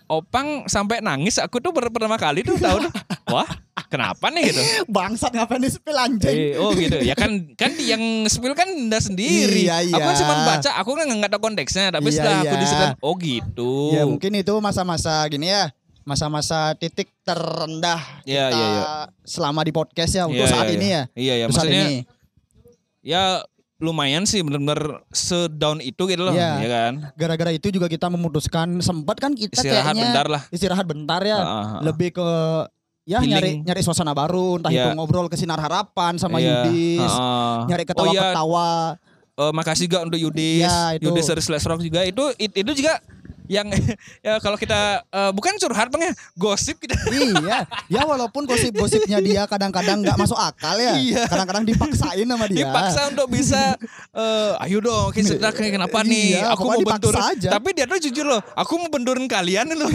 [SPEAKER 3] Opang sampai nangis aku tuh per- pertama kali tuh tahun wah kenapa nih gitu
[SPEAKER 5] Bangsat ngapain di spill anjing.
[SPEAKER 3] Eh, oh gitu ya kan kan yang spill kan Ninda sendiri
[SPEAKER 5] Iya, iya.
[SPEAKER 3] aku kan cuma baca aku kan nggak tahu konteksnya tapi
[SPEAKER 5] Iya,
[SPEAKER 3] setelah aku
[SPEAKER 5] iya.
[SPEAKER 3] disitu oh gitu
[SPEAKER 5] Ya mungkin itu masa-masa gini ya. Masa-masa titik terendah
[SPEAKER 3] Iya,
[SPEAKER 5] kita
[SPEAKER 3] iya, iya.
[SPEAKER 5] selama di podcast ya untuk
[SPEAKER 3] Iya,
[SPEAKER 5] saat
[SPEAKER 3] iya,
[SPEAKER 5] ini
[SPEAKER 3] iya.
[SPEAKER 5] ya.
[SPEAKER 3] iya ya
[SPEAKER 5] Untuk saat
[SPEAKER 3] maksudnya
[SPEAKER 5] ini.
[SPEAKER 3] ya lumayan sih benar-benar sedown itu gitu loh
[SPEAKER 5] Iya.
[SPEAKER 3] ya kan
[SPEAKER 5] Gara-gara itu juga kita memutuskan sempat kan kita
[SPEAKER 3] istirahat
[SPEAKER 5] kayaknya
[SPEAKER 3] bentar lah
[SPEAKER 5] istirahat bentar ya.
[SPEAKER 3] Ah, ah, ah.
[SPEAKER 5] Lebih ke ya
[SPEAKER 3] Healing.
[SPEAKER 5] nyari nyari suasana baru entah
[SPEAKER 3] Iya.
[SPEAKER 5] itu ngobrol ke sinar harapan sama
[SPEAKER 3] Iya.
[SPEAKER 5] Yudis.
[SPEAKER 3] Ah, ah.
[SPEAKER 5] Nyari
[SPEAKER 3] Oh, iya.
[SPEAKER 5] ketawa-ketawa.
[SPEAKER 3] Eh, makasih juga untuk Yudis,
[SPEAKER 5] Ya, itu.
[SPEAKER 3] Yudis dari Slash Rock juga itu it- itu juga yang ya kalau kita eh, bukan curhat peng ya gosip kita
[SPEAKER 5] iya, ya walaupun gosip-gosipnya dia kadang-kadang nggak masuk akal ya, kadang-kadang dipaksain sama
[SPEAKER 3] Iya.
[SPEAKER 5] dia.
[SPEAKER 3] dipaksa untuk bisa eh, ayo dong kita cerita kayak kenapa nih
[SPEAKER 5] Iya,
[SPEAKER 3] aku mau
[SPEAKER 5] pokoknya dipaksa
[SPEAKER 3] benturin
[SPEAKER 5] aja.
[SPEAKER 3] tapi dia tuh jujur loh aku mau benturin kalian loh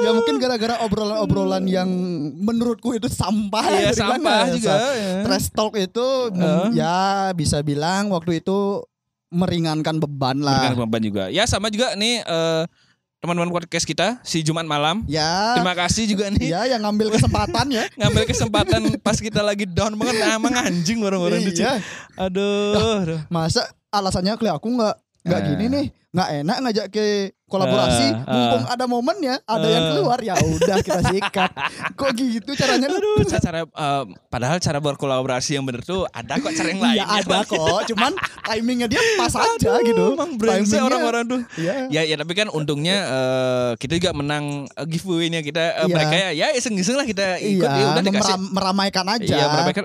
[SPEAKER 5] Ya mungkin gara-gara obrolan-obrolan yang menurutku itu sampah.
[SPEAKER 3] Iya,
[SPEAKER 5] Jadi kan,
[SPEAKER 3] sampah
[SPEAKER 5] ya,
[SPEAKER 3] juga,
[SPEAKER 5] sa-
[SPEAKER 3] ya.
[SPEAKER 5] Trash talk itu mem- ya bisa bilang waktu itu meringankan beban
[SPEAKER 3] Bukan
[SPEAKER 5] lah.
[SPEAKER 3] beban juga ya sama juga nih eh, teman-teman podcast kita si Jumat malam
[SPEAKER 5] Ya,
[SPEAKER 3] terima kasih juga nih
[SPEAKER 5] ya yang ngambil kesempatan ya.
[SPEAKER 3] ngambil kesempatan pas kita lagi down banget Ah, emang anjing orang-orang di
[SPEAKER 5] Iya.
[SPEAKER 3] aduh, aduh.
[SPEAKER 5] Masa alasannya kali aku nggak nggak
[SPEAKER 3] Eh.
[SPEAKER 5] gini nih nggak enak ngajak ke kolaborasi
[SPEAKER 3] Eh, eh.
[SPEAKER 5] mumpung ada momennya ada yang
[SPEAKER 3] Eh.
[SPEAKER 5] keluar ya udah kita sikat kok gitu caranya
[SPEAKER 3] Aduh, cara, cara, eh, padahal cara berkolaborasi yang bener tuh ada kok cara yang lain.
[SPEAKER 5] Iya ada kok, cuman timingnya dia pas aja gitu.
[SPEAKER 3] Emang brengsek
[SPEAKER 5] Timingnya-
[SPEAKER 3] orang-orang tuh.
[SPEAKER 5] Iya.
[SPEAKER 3] Ya ya tapi kan untungnya eh, kita juga menang eh, giveaway-nya kita eh,
[SPEAKER 5] Iya.
[SPEAKER 3] mereka ya ya iseng-iseng lah kita ikut
[SPEAKER 5] Iya,
[SPEAKER 3] ya udah dikasih.
[SPEAKER 5] memeram- meramaikan aja.
[SPEAKER 3] Iya, mereka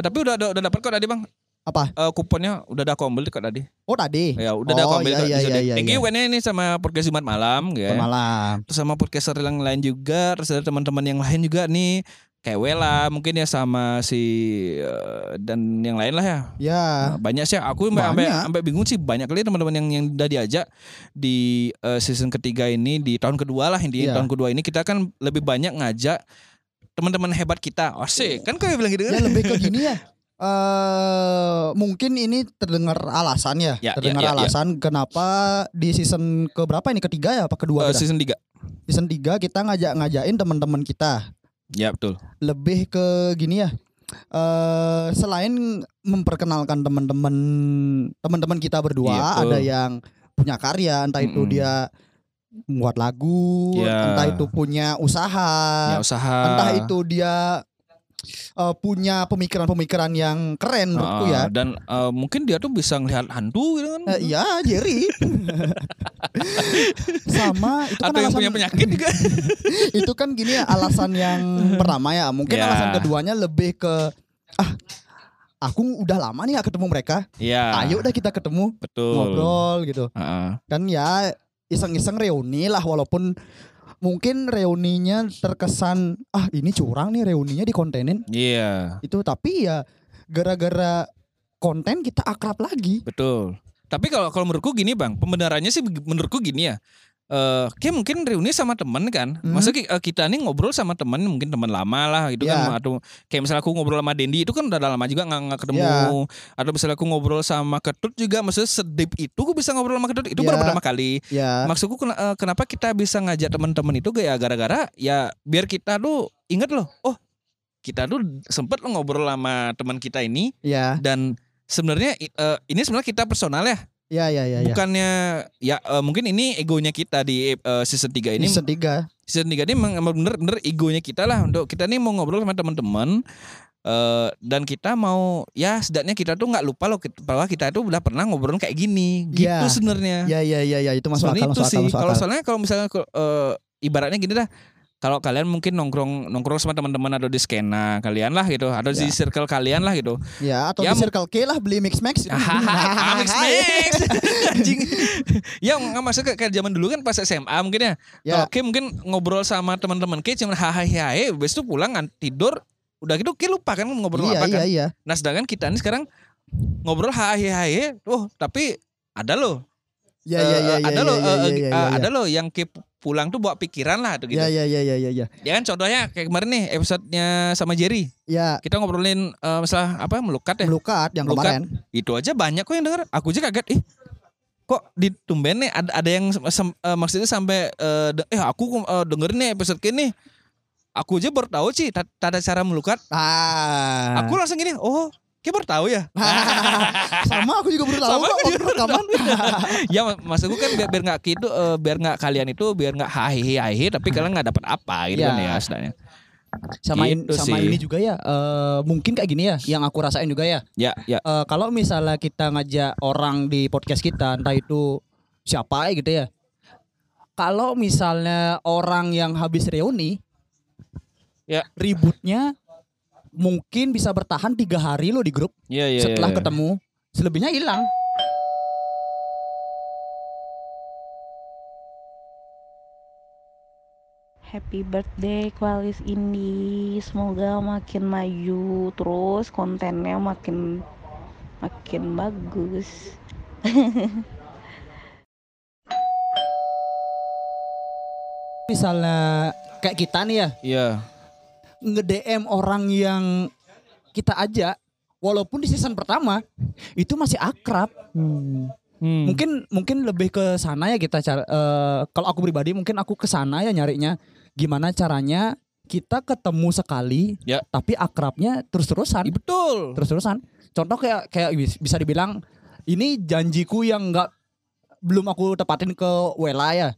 [SPEAKER 3] tapi udah udah, udah dapat kok tadi, Bang.
[SPEAKER 5] Apa?
[SPEAKER 3] Eh, kuponnya udah ada aku ambil kok tadi.
[SPEAKER 5] Oh tadi.
[SPEAKER 3] Ya, udah ada aku
[SPEAKER 5] Oh,
[SPEAKER 3] ambil
[SPEAKER 5] iya,
[SPEAKER 3] kok.
[SPEAKER 5] iya,
[SPEAKER 3] di sini.
[SPEAKER 5] iya,
[SPEAKER 3] Thank
[SPEAKER 5] iya.
[SPEAKER 3] you kan ini sama podcast Jumat malam ya.
[SPEAKER 5] Malam.
[SPEAKER 3] Terus sama podcaster yang lain juga, terus ada teman-teman yang lain juga nih. Kayak Wela mungkin ya sama si eh, dan yang lain lah ya.
[SPEAKER 5] Ya.
[SPEAKER 3] Nah, banyak sih aku sampai sampai-
[SPEAKER 5] Banyak.
[SPEAKER 3] sampai bingung sih banyak kali teman-teman yang yang udah diajak di eh, season ketiga ini di tahun kedua lah di
[SPEAKER 5] Iya.
[SPEAKER 3] tahun kedua ini kita kan lebih banyak ngajak teman-teman hebat kita asik kan kau bilang gitu
[SPEAKER 5] Ya
[SPEAKER 3] kan
[SPEAKER 5] lebih ke gini ya. Eh mungkin ini terdengar alasan ya,
[SPEAKER 3] Ya, ya,
[SPEAKER 5] terdengar
[SPEAKER 3] ya, ya.
[SPEAKER 5] alasan kenapa di season keberapa ini ketiga ya apa kedua
[SPEAKER 3] Eh,
[SPEAKER 5] kita?
[SPEAKER 3] season 3
[SPEAKER 5] season 3 kita ngajak ngajain teman-teman kita
[SPEAKER 3] ya betul
[SPEAKER 5] lebih ke gini ya eh selain memperkenalkan teman-teman teman-teman kita berdua
[SPEAKER 3] Iya, betul.
[SPEAKER 5] ada yang punya karya entah itu
[SPEAKER 3] Mm-mm.
[SPEAKER 5] dia membuat lagu
[SPEAKER 3] Iya.
[SPEAKER 5] entah itu
[SPEAKER 3] ya
[SPEAKER 5] punya usaha
[SPEAKER 3] usaha
[SPEAKER 5] Ah, entah itu dia eh, punya pemikiran-pemikiran yang keren menurutku
[SPEAKER 3] Ah,
[SPEAKER 5] ya
[SPEAKER 3] dan eh, mungkin dia tuh bisa ngelihat hantu gitu kan
[SPEAKER 5] Eh, iya Jerry sama itu kan
[SPEAKER 3] atau yang
[SPEAKER 5] alasan-
[SPEAKER 3] punya penyakit juga
[SPEAKER 5] itu kan gini ya alasan yang pertama ya mungkin
[SPEAKER 3] Ya.
[SPEAKER 5] alasan keduanya lebih ke ah aku udah lama nih gak ketemu mereka
[SPEAKER 3] ya
[SPEAKER 5] ayo udah kita ketemu
[SPEAKER 3] betul
[SPEAKER 5] ngobrol gitu
[SPEAKER 3] Ah,
[SPEAKER 5] kan ya iseng-iseng reuni lah walaupun mungkin reuninya terkesan ah ini curang nih reuninya di kontenin
[SPEAKER 3] iya
[SPEAKER 5] itu tapi ya gara-gara konten kita akrab lagi
[SPEAKER 3] Betul. Tapi kalau kalau menurutku gini bang, pembenarannya sih beg- menurutku gini ya. Eh, kayak mungkin reuni sama temen kan.
[SPEAKER 5] Mhm.
[SPEAKER 3] Maksudnya ki- eh, kita nih ngobrol sama temen mungkin teman lama lah gitu kan
[SPEAKER 5] Ya.
[SPEAKER 3] atau kayak misalnya aku ngobrol sama Dendi itu kan udah lama juga nggak nggak ketemu.
[SPEAKER 5] Ya.
[SPEAKER 3] Atau misalnya aku ngobrol sama Ketut juga maksudnya sedip itu aku bisa ngobrol sama Ketut itu
[SPEAKER 5] Ya.
[SPEAKER 3] baru pertama kali.
[SPEAKER 5] ya
[SPEAKER 3] Maksudku kena- eh, kenapa kita bisa ngajak teman-teman itu kayak gara-gara ya biar kita tuh inget loh. Oh, kita tuh sempet loh ngobrol sama teman kita ini
[SPEAKER 5] ya
[SPEAKER 3] dan sebenarnya i- eh, ini sebenarnya kita personal ya
[SPEAKER 5] ya ya ya ya
[SPEAKER 3] bukannya ya eh, mungkin ini egonya kita di eh, season 3 ini
[SPEAKER 5] season tiga
[SPEAKER 3] season 3 ini memang bener-bener egonya kita lah untuk kita nih mau ngobrol sama teman-teman Eh, dan kita mau ya setidaknya kita tuh nggak lupa loh kit- bahwa kita itu udah pernah ngobrol kayak gini gitu
[SPEAKER 5] Iya.
[SPEAKER 3] sebenarnya
[SPEAKER 5] Ya ya ya ya itu masuk
[SPEAKER 3] Sebenarnya
[SPEAKER 5] akal
[SPEAKER 3] itu
[SPEAKER 5] masuk akal
[SPEAKER 3] sih.
[SPEAKER 5] masuk
[SPEAKER 3] Kalau
[SPEAKER 5] akal.
[SPEAKER 3] soalnya kalau misalnya eh, ibaratnya gini dah. Kalau kalian mungkin nongkrong nongkrong sama teman-teman atau di skena kalian lah gitu, atau di circle kalian lah gitu.
[SPEAKER 5] Ya atau
[SPEAKER 3] Ya, Ah,
[SPEAKER 5] di Circle K lah beli mix max.
[SPEAKER 3] Hahaha, mix mix. Anjing. Ya nggak masuk ke, kayak zaman dulu kan pas SMA mungkin ya. Kalau
[SPEAKER 5] Ya.
[SPEAKER 3] Ki mungkin ngobrol sama teman-teman Ki cuman hahaha, habis itu pulang ngan- tidur udah gitu Ki lupa kan ngobrol
[SPEAKER 5] Iya
[SPEAKER 3] apa
[SPEAKER 5] iya
[SPEAKER 3] kan.
[SPEAKER 5] iya.
[SPEAKER 3] Nah sedangkan kita ini sekarang ngobrol hahaha, oh tapi ada loh
[SPEAKER 5] Ya ya
[SPEAKER 3] Eh,
[SPEAKER 5] ya ya.
[SPEAKER 3] ada
[SPEAKER 5] ya,
[SPEAKER 3] loh
[SPEAKER 5] ya,
[SPEAKER 3] eh,
[SPEAKER 5] ya,
[SPEAKER 3] eh,
[SPEAKER 5] ya,
[SPEAKER 3] eh,
[SPEAKER 5] ya,
[SPEAKER 3] ada loh yang ke pulang tuh bawa pikiran lah tuh gitu.
[SPEAKER 5] Ya ya ya ya ya ya.
[SPEAKER 3] Ya kan contohnya kayak kemarin nih episodenya sama Jerry.
[SPEAKER 5] Ya
[SPEAKER 3] Kita ngobrolin eh, masalah apa melukat ya.
[SPEAKER 5] melukat yang
[SPEAKER 3] Melukat.
[SPEAKER 5] kemarin.
[SPEAKER 3] Itu aja banyak kok yang denger. Aku aja kaget, ih. Kok di tumben nih ada, ada yang sem- eh, maksudnya sampai eh, de- eh aku eh, dengerin nih episode kini. Aku aja baru tahu sih ta- tata cara melukat.
[SPEAKER 5] Ah.
[SPEAKER 3] Aku langsung gini, oh, kayak baru tahu ya.
[SPEAKER 5] sama aku juga baru tahu
[SPEAKER 3] Sama
[SPEAKER 5] kok
[SPEAKER 3] aku juga
[SPEAKER 5] waktu
[SPEAKER 3] baru
[SPEAKER 5] rekaman.
[SPEAKER 3] ya mak- maksud gue kan biar, biar nggak gitu eh, biar nggak kalian itu biar nggak hahihi hahihi tapi kalian nggak dapat apa gitu
[SPEAKER 5] Ya.
[SPEAKER 3] kan ya sebenarnya.
[SPEAKER 5] sama in-
[SPEAKER 3] Gitu
[SPEAKER 5] sama
[SPEAKER 3] sih.
[SPEAKER 5] ini juga ya. eh, mungkin kayak gini ya yang aku rasain juga ya.
[SPEAKER 3] Ya ya
[SPEAKER 5] Eh, kalau misalnya kita ngajak orang di podcast kita entah itu siapa ya gitu ya kalau misalnya orang yang habis reuni
[SPEAKER 3] Ya.
[SPEAKER 5] ributnya mungkin bisa bertahan tiga hari loh di grup
[SPEAKER 3] ya ya.
[SPEAKER 5] setelah
[SPEAKER 3] ya.
[SPEAKER 5] ketemu selebihnya hilang
[SPEAKER 11] Happy birthday Kualis Indi. Semoga makin maju terus kontennya makin makin bagus.
[SPEAKER 5] misalnya kayak kita nih ya
[SPEAKER 3] Iya.
[SPEAKER 5] nge DM orang yang kita ajak walaupun di season pertama itu masih akrab
[SPEAKER 3] Hmm.
[SPEAKER 5] mungkin mungkin lebih ke sana ya kita cara eh, kalau aku pribadi mungkin aku ke sana ya nyarinya gimana caranya kita ketemu sekali
[SPEAKER 3] Ya.
[SPEAKER 5] tapi akrabnya terus-terusan
[SPEAKER 3] Iya, betul.
[SPEAKER 5] terus-terusan contoh kayak kayak bis- bisa dibilang ini janjiku yang enggak belum aku tepatin ke Wela ya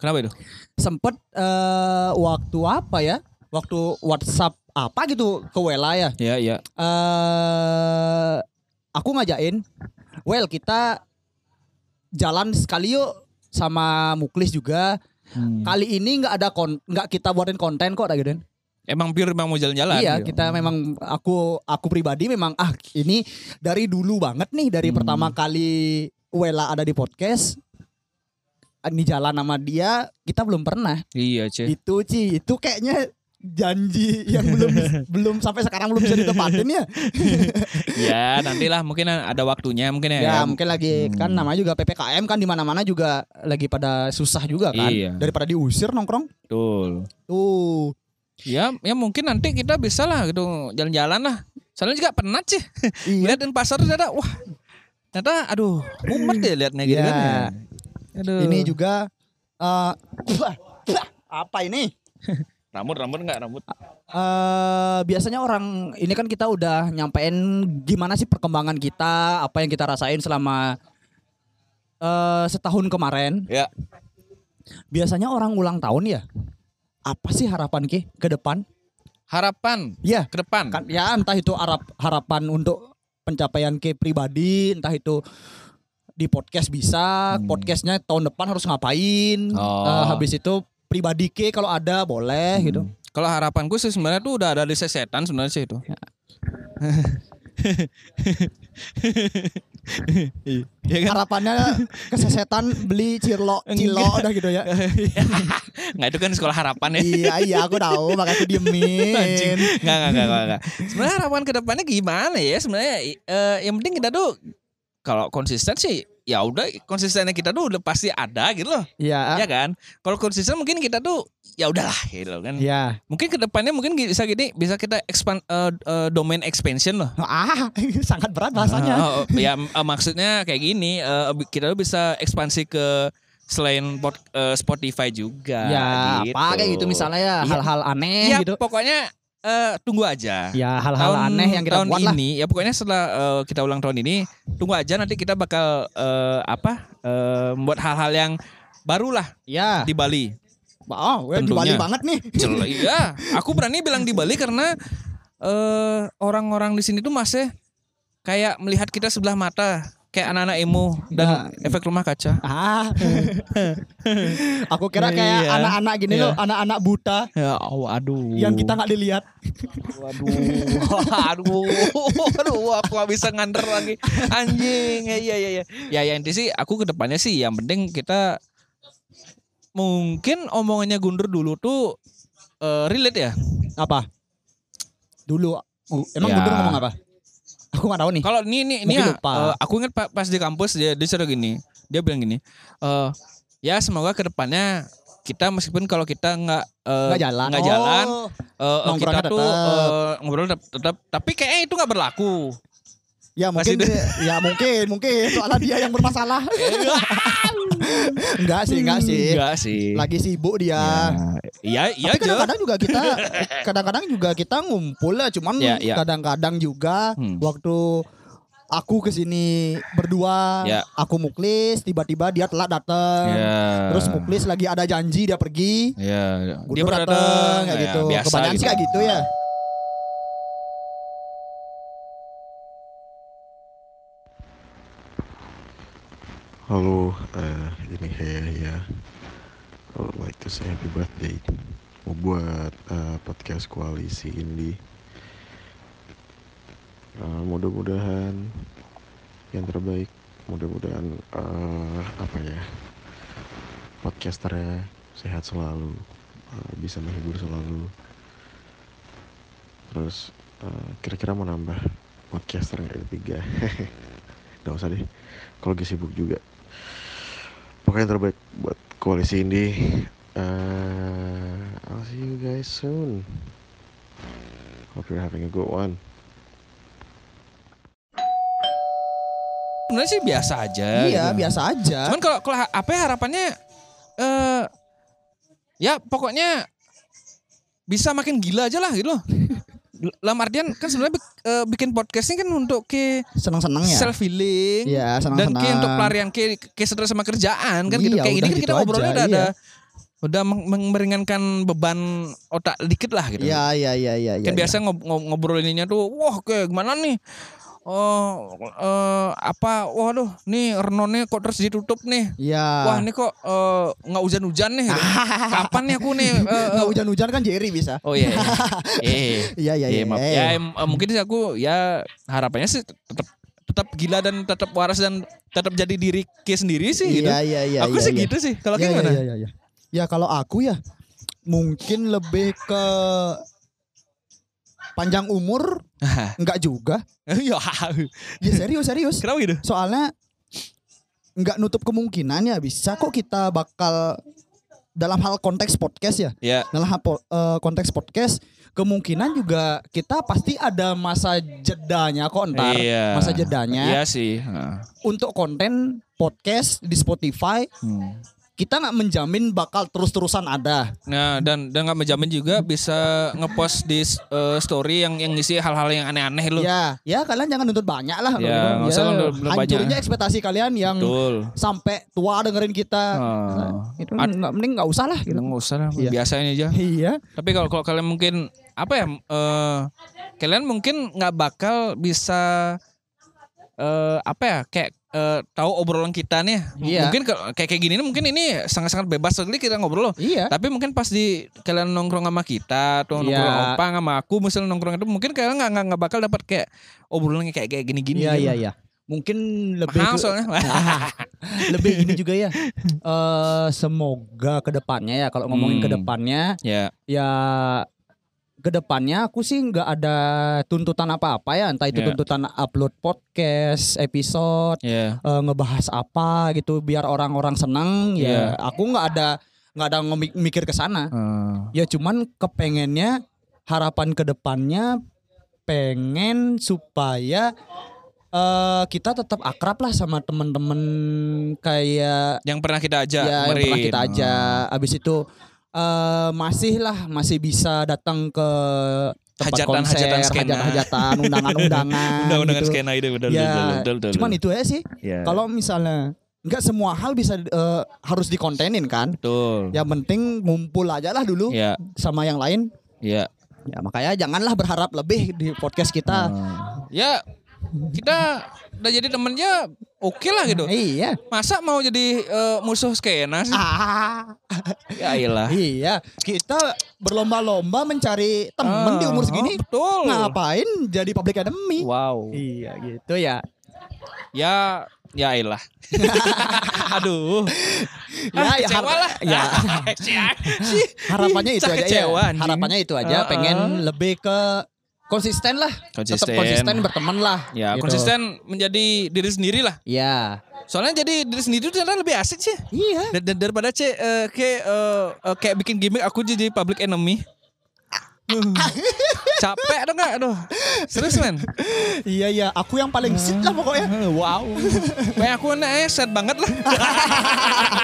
[SPEAKER 3] Kenapa itu?
[SPEAKER 5] sempet eh, waktu apa ya waktu WhatsApp apa gitu ke Wela ya
[SPEAKER 3] Ya ya.
[SPEAKER 5] eh aku ngajain, well kita jalan sekali yuk sama Muklis juga.
[SPEAKER 3] Hmm.
[SPEAKER 5] Kali ini nggak ada kon, nggak kita buatin konten kok, tak gitu.
[SPEAKER 3] Emang pure emang mau jalan-jalan.
[SPEAKER 5] Iya,
[SPEAKER 3] gitu.
[SPEAKER 5] kita memang aku aku pribadi memang ah ini dari dulu banget nih dari pertama kali Wela ada di podcast ini jalan sama dia kita belum pernah
[SPEAKER 3] Iya Ci.
[SPEAKER 5] itu Ci itu kayaknya janji yang belum belum sampai sekarang belum bisa ditepatin ya
[SPEAKER 3] ya nantilah mungkin ada waktunya mungkin ya.
[SPEAKER 5] Ya, mungkin lagi kan namanya juga PPKM kan di mana-mana juga lagi pada susah juga kan.
[SPEAKER 3] Iya.
[SPEAKER 5] Daripada diusir nongkrong.
[SPEAKER 3] Betul.
[SPEAKER 5] Tuh.
[SPEAKER 3] Ya ya mungkin nanti kita bisa lah gitu jalan-jalan lah. Soalnya juga penat sih.
[SPEAKER 5] Iya.
[SPEAKER 3] Liatin pasar tuh ternyata wah ternyata aduh umat ya liatnya gitu
[SPEAKER 5] Iya.
[SPEAKER 3] kan. ya. Aduh.
[SPEAKER 5] Ini juga eh, apa ini?
[SPEAKER 3] rambut rambut nggak rambut.
[SPEAKER 5] eh biasanya orang ini kan kita udah nyampein gimana sih perkembangan kita, apa yang kita rasain selama eh setahun kemarin.
[SPEAKER 3] Ya.
[SPEAKER 5] Biasanya orang ulang tahun ya. Apa sih harapan Ki ke depan?
[SPEAKER 3] Harapan
[SPEAKER 5] Ya,
[SPEAKER 3] ke depan.
[SPEAKER 5] kan ya entah itu harap harapan untuk pencapaian ke pribadi entah itu di podcast bisa podcastnya tahun depan harus ngapain
[SPEAKER 3] Hmm. Oh. Hmm.
[SPEAKER 5] Eh, habis itu pribadi ke kalau ada boleh gitu
[SPEAKER 3] Kalau harapanku sih sebenarnya tuh udah ada di sesetan sebenarnya sih itu.
[SPEAKER 5] Ya.
[SPEAKER 3] Iya kan?
[SPEAKER 5] harapannya kesesetan beli cirlo cilo udah gitu ya
[SPEAKER 3] Nggak itu kan sekolah harapan ya.
[SPEAKER 5] iya iya aku tahu makanya aku
[SPEAKER 3] Anjing.
[SPEAKER 5] diemin
[SPEAKER 3] Nggak, nggak, nggak, nggak, nggak. Sebenarnya harapan ke depannya gimana ya? Sebenarnya i- eh, yang penting kita tuh kalau konsisten sih ya udah konsistennya kita tuh udah pasti ada gitu loh.
[SPEAKER 5] iya
[SPEAKER 3] Ya kan? Kalau konsisten mungkin kita tuh ya udahlah gitu loh kan.
[SPEAKER 5] iya
[SPEAKER 3] Mungkin ke depannya mungkin bisa gini, bisa kita expand eh, eh, domain expansion loh.
[SPEAKER 5] ah sangat berat bahasanya
[SPEAKER 3] Oh, oh, ya m- eh, maksudnya kayak gini, eh, bi- kita tuh bisa ekspansi ke selain pod- eh, Spotify juga.
[SPEAKER 5] ya apa kayak gitu misalnya ya
[SPEAKER 3] Iya.
[SPEAKER 5] hal-hal aneh
[SPEAKER 3] Ya
[SPEAKER 5] gitu
[SPEAKER 3] pokoknya eh, tunggu aja.
[SPEAKER 5] ya hal-hal aneh yang kita
[SPEAKER 3] tahun
[SPEAKER 5] buat lah
[SPEAKER 3] ini ya pokoknya setelah eh, kita ulang tahun ini tunggu aja nanti kita bakal eh, apa eh, membuat hal-hal yang barulah
[SPEAKER 5] ya
[SPEAKER 3] di Bali.
[SPEAKER 5] oh gue di
[SPEAKER 3] Tentunya.
[SPEAKER 5] Bali banget nih
[SPEAKER 3] Cel- iya, aku berani bilang di Bali karena eh, orang-orang di sini tuh masih kayak melihat kita sebelah mata kayak anak-anak emo dan
[SPEAKER 5] Ya.
[SPEAKER 3] efek rumah kaca.
[SPEAKER 5] Ah. Aku kira kayak
[SPEAKER 3] Iya.
[SPEAKER 5] anak-anak gini
[SPEAKER 3] Iya.
[SPEAKER 5] loh, anak-anak buta
[SPEAKER 3] Ya, oh, aduh.
[SPEAKER 5] yang kita nggak dilihat.
[SPEAKER 3] Waduh, aduh, aduh, aku gak bisa ngander lagi. Anjing, ya, ya, ya, ya. Ya, yang inti sih, aku kedepannya sih, yang penting kita mungkin omongannya Gundur dulu tuh eh, relate ya.
[SPEAKER 5] Apa? Dulu uh, emang
[SPEAKER 3] Ya.
[SPEAKER 5] Guntur ngomong apa? Aku nggak tahu nih.
[SPEAKER 3] Kalau ini ini ini
[SPEAKER 5] Mungkin
[SPEAKER 3] ya,
[SPEAKER 5] lupa.
[SPEAKER 3] eh, aku ingat pa- pas di kampus dia dia suruh gini, dia bilang gini, eh ya semoga kedepannya kita meskipun kalau kita nggak eh,
[SPEAKER 5] Nggak jalan.
[SPEAKER 3] nggak jalan,
[SPEAKER 5] Oh,
[SPEAKER 3] eh, eh, kita
[SPEAKER 5] Nongkrongnya
[SPEAKER 3] tuh
[SPEAKER 5] tetap.
[SPEAKER 3] eh, ngobrol tetap, tetap, tapi kayaknya itu nggak berlaku.
[SPEAKER 5] Ya
[SPEAKER 3] Masih
[SPEAKER 5] mungkin ya mungkin mungkin soalnya dia yang bermasalah. enggak sih, enggak sih.
[SPEAKER 3] Enggak sih.
[SPEAKER 5] Lagi sibuk dia.
[SPEAKER 3] Iya, iya aja.
[SPEAKER 5] Tapi kan kadang-kadang juga kita kadang-kadang juga kita ngumpul lah cuman
[SPEAKER 3] Ya, ya.
[SPEAKER 5] kadang-kadang juga
[SPEAKER 3] Hmm.
[SPEAKER 5] waktu aku kesini berdua
[SPEAKER 3] Ya.
[SPEAKER 5] aku muklis tiba-tiba dia telat datang
[SPEAKER 3] Iya.
[SPEAKER 5] eh, terus muklis lagi ada janji dia pergi
[SPEAKER 3] Iya.
[SPEAKER 5] Guntur datang kayak
[SPEAKER 3] ya,
[SPEAKER 5] gitu
[SPEAKER 3] biasa
[SPEAKER 5] kebanyakan sih kayak gitu ya
[SPEAKER 4] Halo, eh, ini Hea ya. I would like to say happy birthday. Mau buat eh, podcast koalisi Indi. Eh, mudah-mudahan yang terbaik. Mudah-mudahan eh, apa ya podcasternya sehat selalu, eh, bisa menghibur selalu. Terus eh, kira-kira mau nambah podcaster nggak ada tiga? Gak usah deh, kalau lagi sibuk juga. Pokoknya yang terbaik buat koalisi ini. Uh, I'll see you guys soon. Hope you're having a good one.
[SPEAKER 3] Sebenarnya sih biasa aja.
[SPEAKER 5] iya
[SPEAKER 3] gitu.
[SPEAKER 5] biasa aja
[SPEAKER 3] Cuman kalau kalau ha- apa ya harapannya eh ya pokoknya bisa makin gila aja lah gitu loh. Dalam artian kan sebenarnya bik- eh, bikin podcast ini kan untuk ke
[SPEAKER 5] senang-senang ya
[SPEAKER 3] self healing
[SPEAKER 5] Iya,
[SPEAKER 3] dan
[SPEAKER 5] senang-senang
[SPEAKER 3] ke untuk pelarian ke ke stres sama kerjaan kan gitu.
[SPEAKER 5] Iya,
[SPEAKER 3] Kayak ini
[SPEAKER 5] udah
[SPEAKER 3] kan kita
[SPEAKER 5] gitu
[SPEAKER 3] ngobrolnya
[SPEAKER 5] aja,
[SPEAKER 3] udah ada
[SPEAKER 5] iya.
[SPEAKER 3] udah meng- meng- meringankan beban otak dikit lah gitu.
[SPEAKER 5] Iya, iya, iya, iya.
[SPEAKER 3] kan
[SPEAKER 5] iya.
[SPEAKER 3] biasa ngob- ngob- ngobrolinnya tuh wah kayak gimana nih oh eh, apa waduh nih renonnya kok terus ditutup nih
[SPEAKER 5] Iya.
[SPEAKER 3] wah ini kok eh, nggak hujan-hujan nih gitu. kapan nih aku nih eh, eh.
[SPEAKER 5] Nggak hujan-hujan kan Jerry bisa.
[SPEAKER 3] oh iya iya Iya,
[SPEAKER 5] Iya, iya,
[SPEAKER 3] iya
[SPEAKER 5] iya.
[SPEAKER 3] maaf. ya em- eh, mungkin sih aku ya harapannya sih tetap tetap gila dan tetap waras dan tetap jadi diri ke sendiri sih gitu
[SPEAKER 5] Iya, iya, iya.
[SPEAKER 3] aku
[SPEAKER 5] iya,
[SPEAKER 3] sih
[SPEAKER 5] iya.
[SPEAKER 3] gitu sih kalau
[SPEAKER 5] ya,
[SPEAKER 3] kayak gimana
[SPEAKER 5] Ya, ya, ya. ya kalau aku ya mungkin lebih ke panjang umur enggak juga.
[SPEAKER 3] ya
[SPEAKER 5] Ya serius serius.
[SPEAKER 3] kenapa gitu
[SPEAKER 5] Soalnya enggak nutup kemungkinan ya bisa kok kita bakal dalam hal konteks podcast ya.
[SPEAKER 3] ya
[SPEAKER 5] Dalam hal po- eh, konteks podcast kemungkinan juga kita pasti ada masa jedanya kok ntar.
[SPEAKER 3] Iya.
[SPEAKER 5] Masa jedanya
[SPEAKER 3] iya sih Heeh.
[SPEAKER 5] untuk konten podcast di Spotify
[SPEAKER 3] Hmm.
[SPEAKER 5] kita nggak menjamin bakal terus-terusan ada.
[SPEAKER 3] Nah dan dan nggak menjamin juga bisa ngepost di eh, story yang yang ngisi hal-hal yang aneh-aneh loh.
[SPEAKER 5] Ya, ya kalian jangan nuntut banyak lah.
[SPEAKER 3] Ya, nggak usah nuntut- nuntut banyak.
[SPEAKER 5] Hancurinnya ekspektasi kalian yang
[SPEAKER 3] Betul.
[SPEAKER 5] sampai tua dengerin kita.
[SPEAKER 3] Ah. Hmm.
[SPEAKER 5] Itu nggak mending nggak usah lah. Gitu.
[SPEAKER 3] Nggak usah lah,
[SPEAKER 5] Iya.
[SPEAKER 3] biasain aja.
[SPEAKER 5] Iya,
[SPEAKER 3] Tapi kalau kalau kalian mungkin apa ya? eh, kalian mungkin nggak bakal bisa eh apa ya? Kayak eh, tahu obrolan kita nih.
[SPEAKER 5] Iya.
[SPEAKER 3] Mungkin ke- kayak kayak gini nih, mungkin ini sangat-sangat bebas sekali kita ngobrol loh.
[SPEAKER 5] iya.
[SPEAKER 3] Tapi mungkin pas di kalian nongkrong sama kita, atau nongkrong
[SPEAKER 5] Iya.
[SPEAKER 3] opang sama aku, misalnya nongkrong itu mungkin kalian nggak nggak- nggak bakal dapat kayak obrolan yang kayak kayak gini-gini.
[SPEAKER 5] Iya,
[SPEAKER 3] gitu.
[SPEAKER 5] iya, iya. Mungkin lebih
[SPEAKER 3] Mahal
[SPEAKER 5] ke-
[SPEAKER 3] soalnya.
[SPEAKER 5] Ah, lebih gini juga ya. Eh semoga kedepannya ya kalau ngomongin
[SPEAKER 3] Hmm.
[SPEAKER 5] kedepannya
[SPEAKER 3] Ya,
[SPEAKER 5] ya kedepannya aku sih nggak ada tuntutan apa-apa ya entah itu
[SPEAKER 3] Iya.
[SPEAKER 5] tuntutan upload podcast episode
[SPEAKER 3] ya,
[SPEAKER 5] eh, ngebahas apa gitu biar orang-orang senang ya aku nggak ada nggak ada ngemi- mikir ke sana ya cuman kepengennya harapan kedepannya pengen supaya eh, kita tetap akrab lah sama temen-temen kayak
[SPEAKER 3] yang pernah kita ajak.
[SPEAKER 5] ya yang pernah
[SPEAKER 3] kemarin.
[SPEAKER 5] kita aja abis itu eh masih lah masih bisa datang ke tempat konser
[SPEAKER 3] Hajatan-hajatan skena.
[SPEAKER 5] hajatan-hajatan undangan-undangan
[SPEAKER 3] Undang-undangan
[SPEAKER 5] gitu.
[SPEAKER 3] skena itu betul,
[SPEAKER 5] ya
[SPEAKER 3] betul, betul, betul,
[SPEAKER 5] cuman
[SPEAKER 3] betul.
[SPEAKER 5] itu ya sih
[SPEAKER 3] Ya.
[SPEAKER 5] kalau misalnya nggak semua hal bisa eh, harus dikontenin kan
[SPEAKER 3] betul.
[SPEAKER 5] yang penting ngumpul aja lah dulu
[SPEAKER 3] Ya,
[SPEAKER 5] sama yang lain
[SPEAKER 3] ya.
[SPEAKER 5] Ya makanya janganlah berharap lebih di podcast kita.
[SPEAKER 3] Ya kita udah jadi temennya oke lah gitu.
[SPEAKER 5] Iya.
[SPEAKER 3] Masa mau jadi eh, musuh skena
[SPEAKER 5] Ah.
[SPEAKER 3] sih? Ya iyalah.
[SPEAKER 5] Iya, kita berlomba-lomba mencari
[SPEAKER 3] Ah,
[SPEAKER 5] temen di umur segini. Nah,
[SPEAKER 3] betul.
[SPEAKER 5] Ngapain jadi public enemy?
[SPEAKER 3] Wow.
[SPEAKER 5] Iya gitu ya.
[SPEAKER 3] Ya ya iyalah. Aduh.
[SPEAKER 5] Ya,
[SPEAKER 3] Ah,
[SPEAKER 5] ya,
[SPEAKER 3] kecewa
[SPEAKER 5] har-
[SPEAKER 3] lah.
[SPEAKER 5] ya.
[SPEAKER 3] Sih,
[SPEAKER 5] Harapannya itu
[SPEAKER 3] cah
[SPEAKER 5] aja
[SPEAKER 3] kecewa,
[SPEAKER 5] ya.
[SPEAKER 3] anjing.
[SPEAKER 5] Harapannya itu aja
[SPEAKER 3] Ah, ah.
[SPEAKER 5] pengen lebih ke konsisten lah. Tetap
[SPEAKER 3] Konsisten.
[SPEAKER 5] konsisten berteman lah.
[SPEAKER 3] Ya
[SPEAKER 5] gitu.
[SPEAKER 3] konsisten menjadi diri sendiri lah.
[SPEAKER 5] Ya.
[SPEAKER 3] Soalnya jadi diri sendiri itu ternyata lebih asik sih.
[SPEAKER 5] Iya.
[SPEAKER 3] Dar- dar- daripada c eh, kayak eh, eh, kayak bikin gimmick aku jadi public enemy. Uh, capek dong gak? Aduh. Serius men.
[SPEAKER 5] Iya iya, eh. aku yang paling sit lah pokoknya.
[SPEAKER 3] Wow. Kayak aku enak eh, sad banget lah.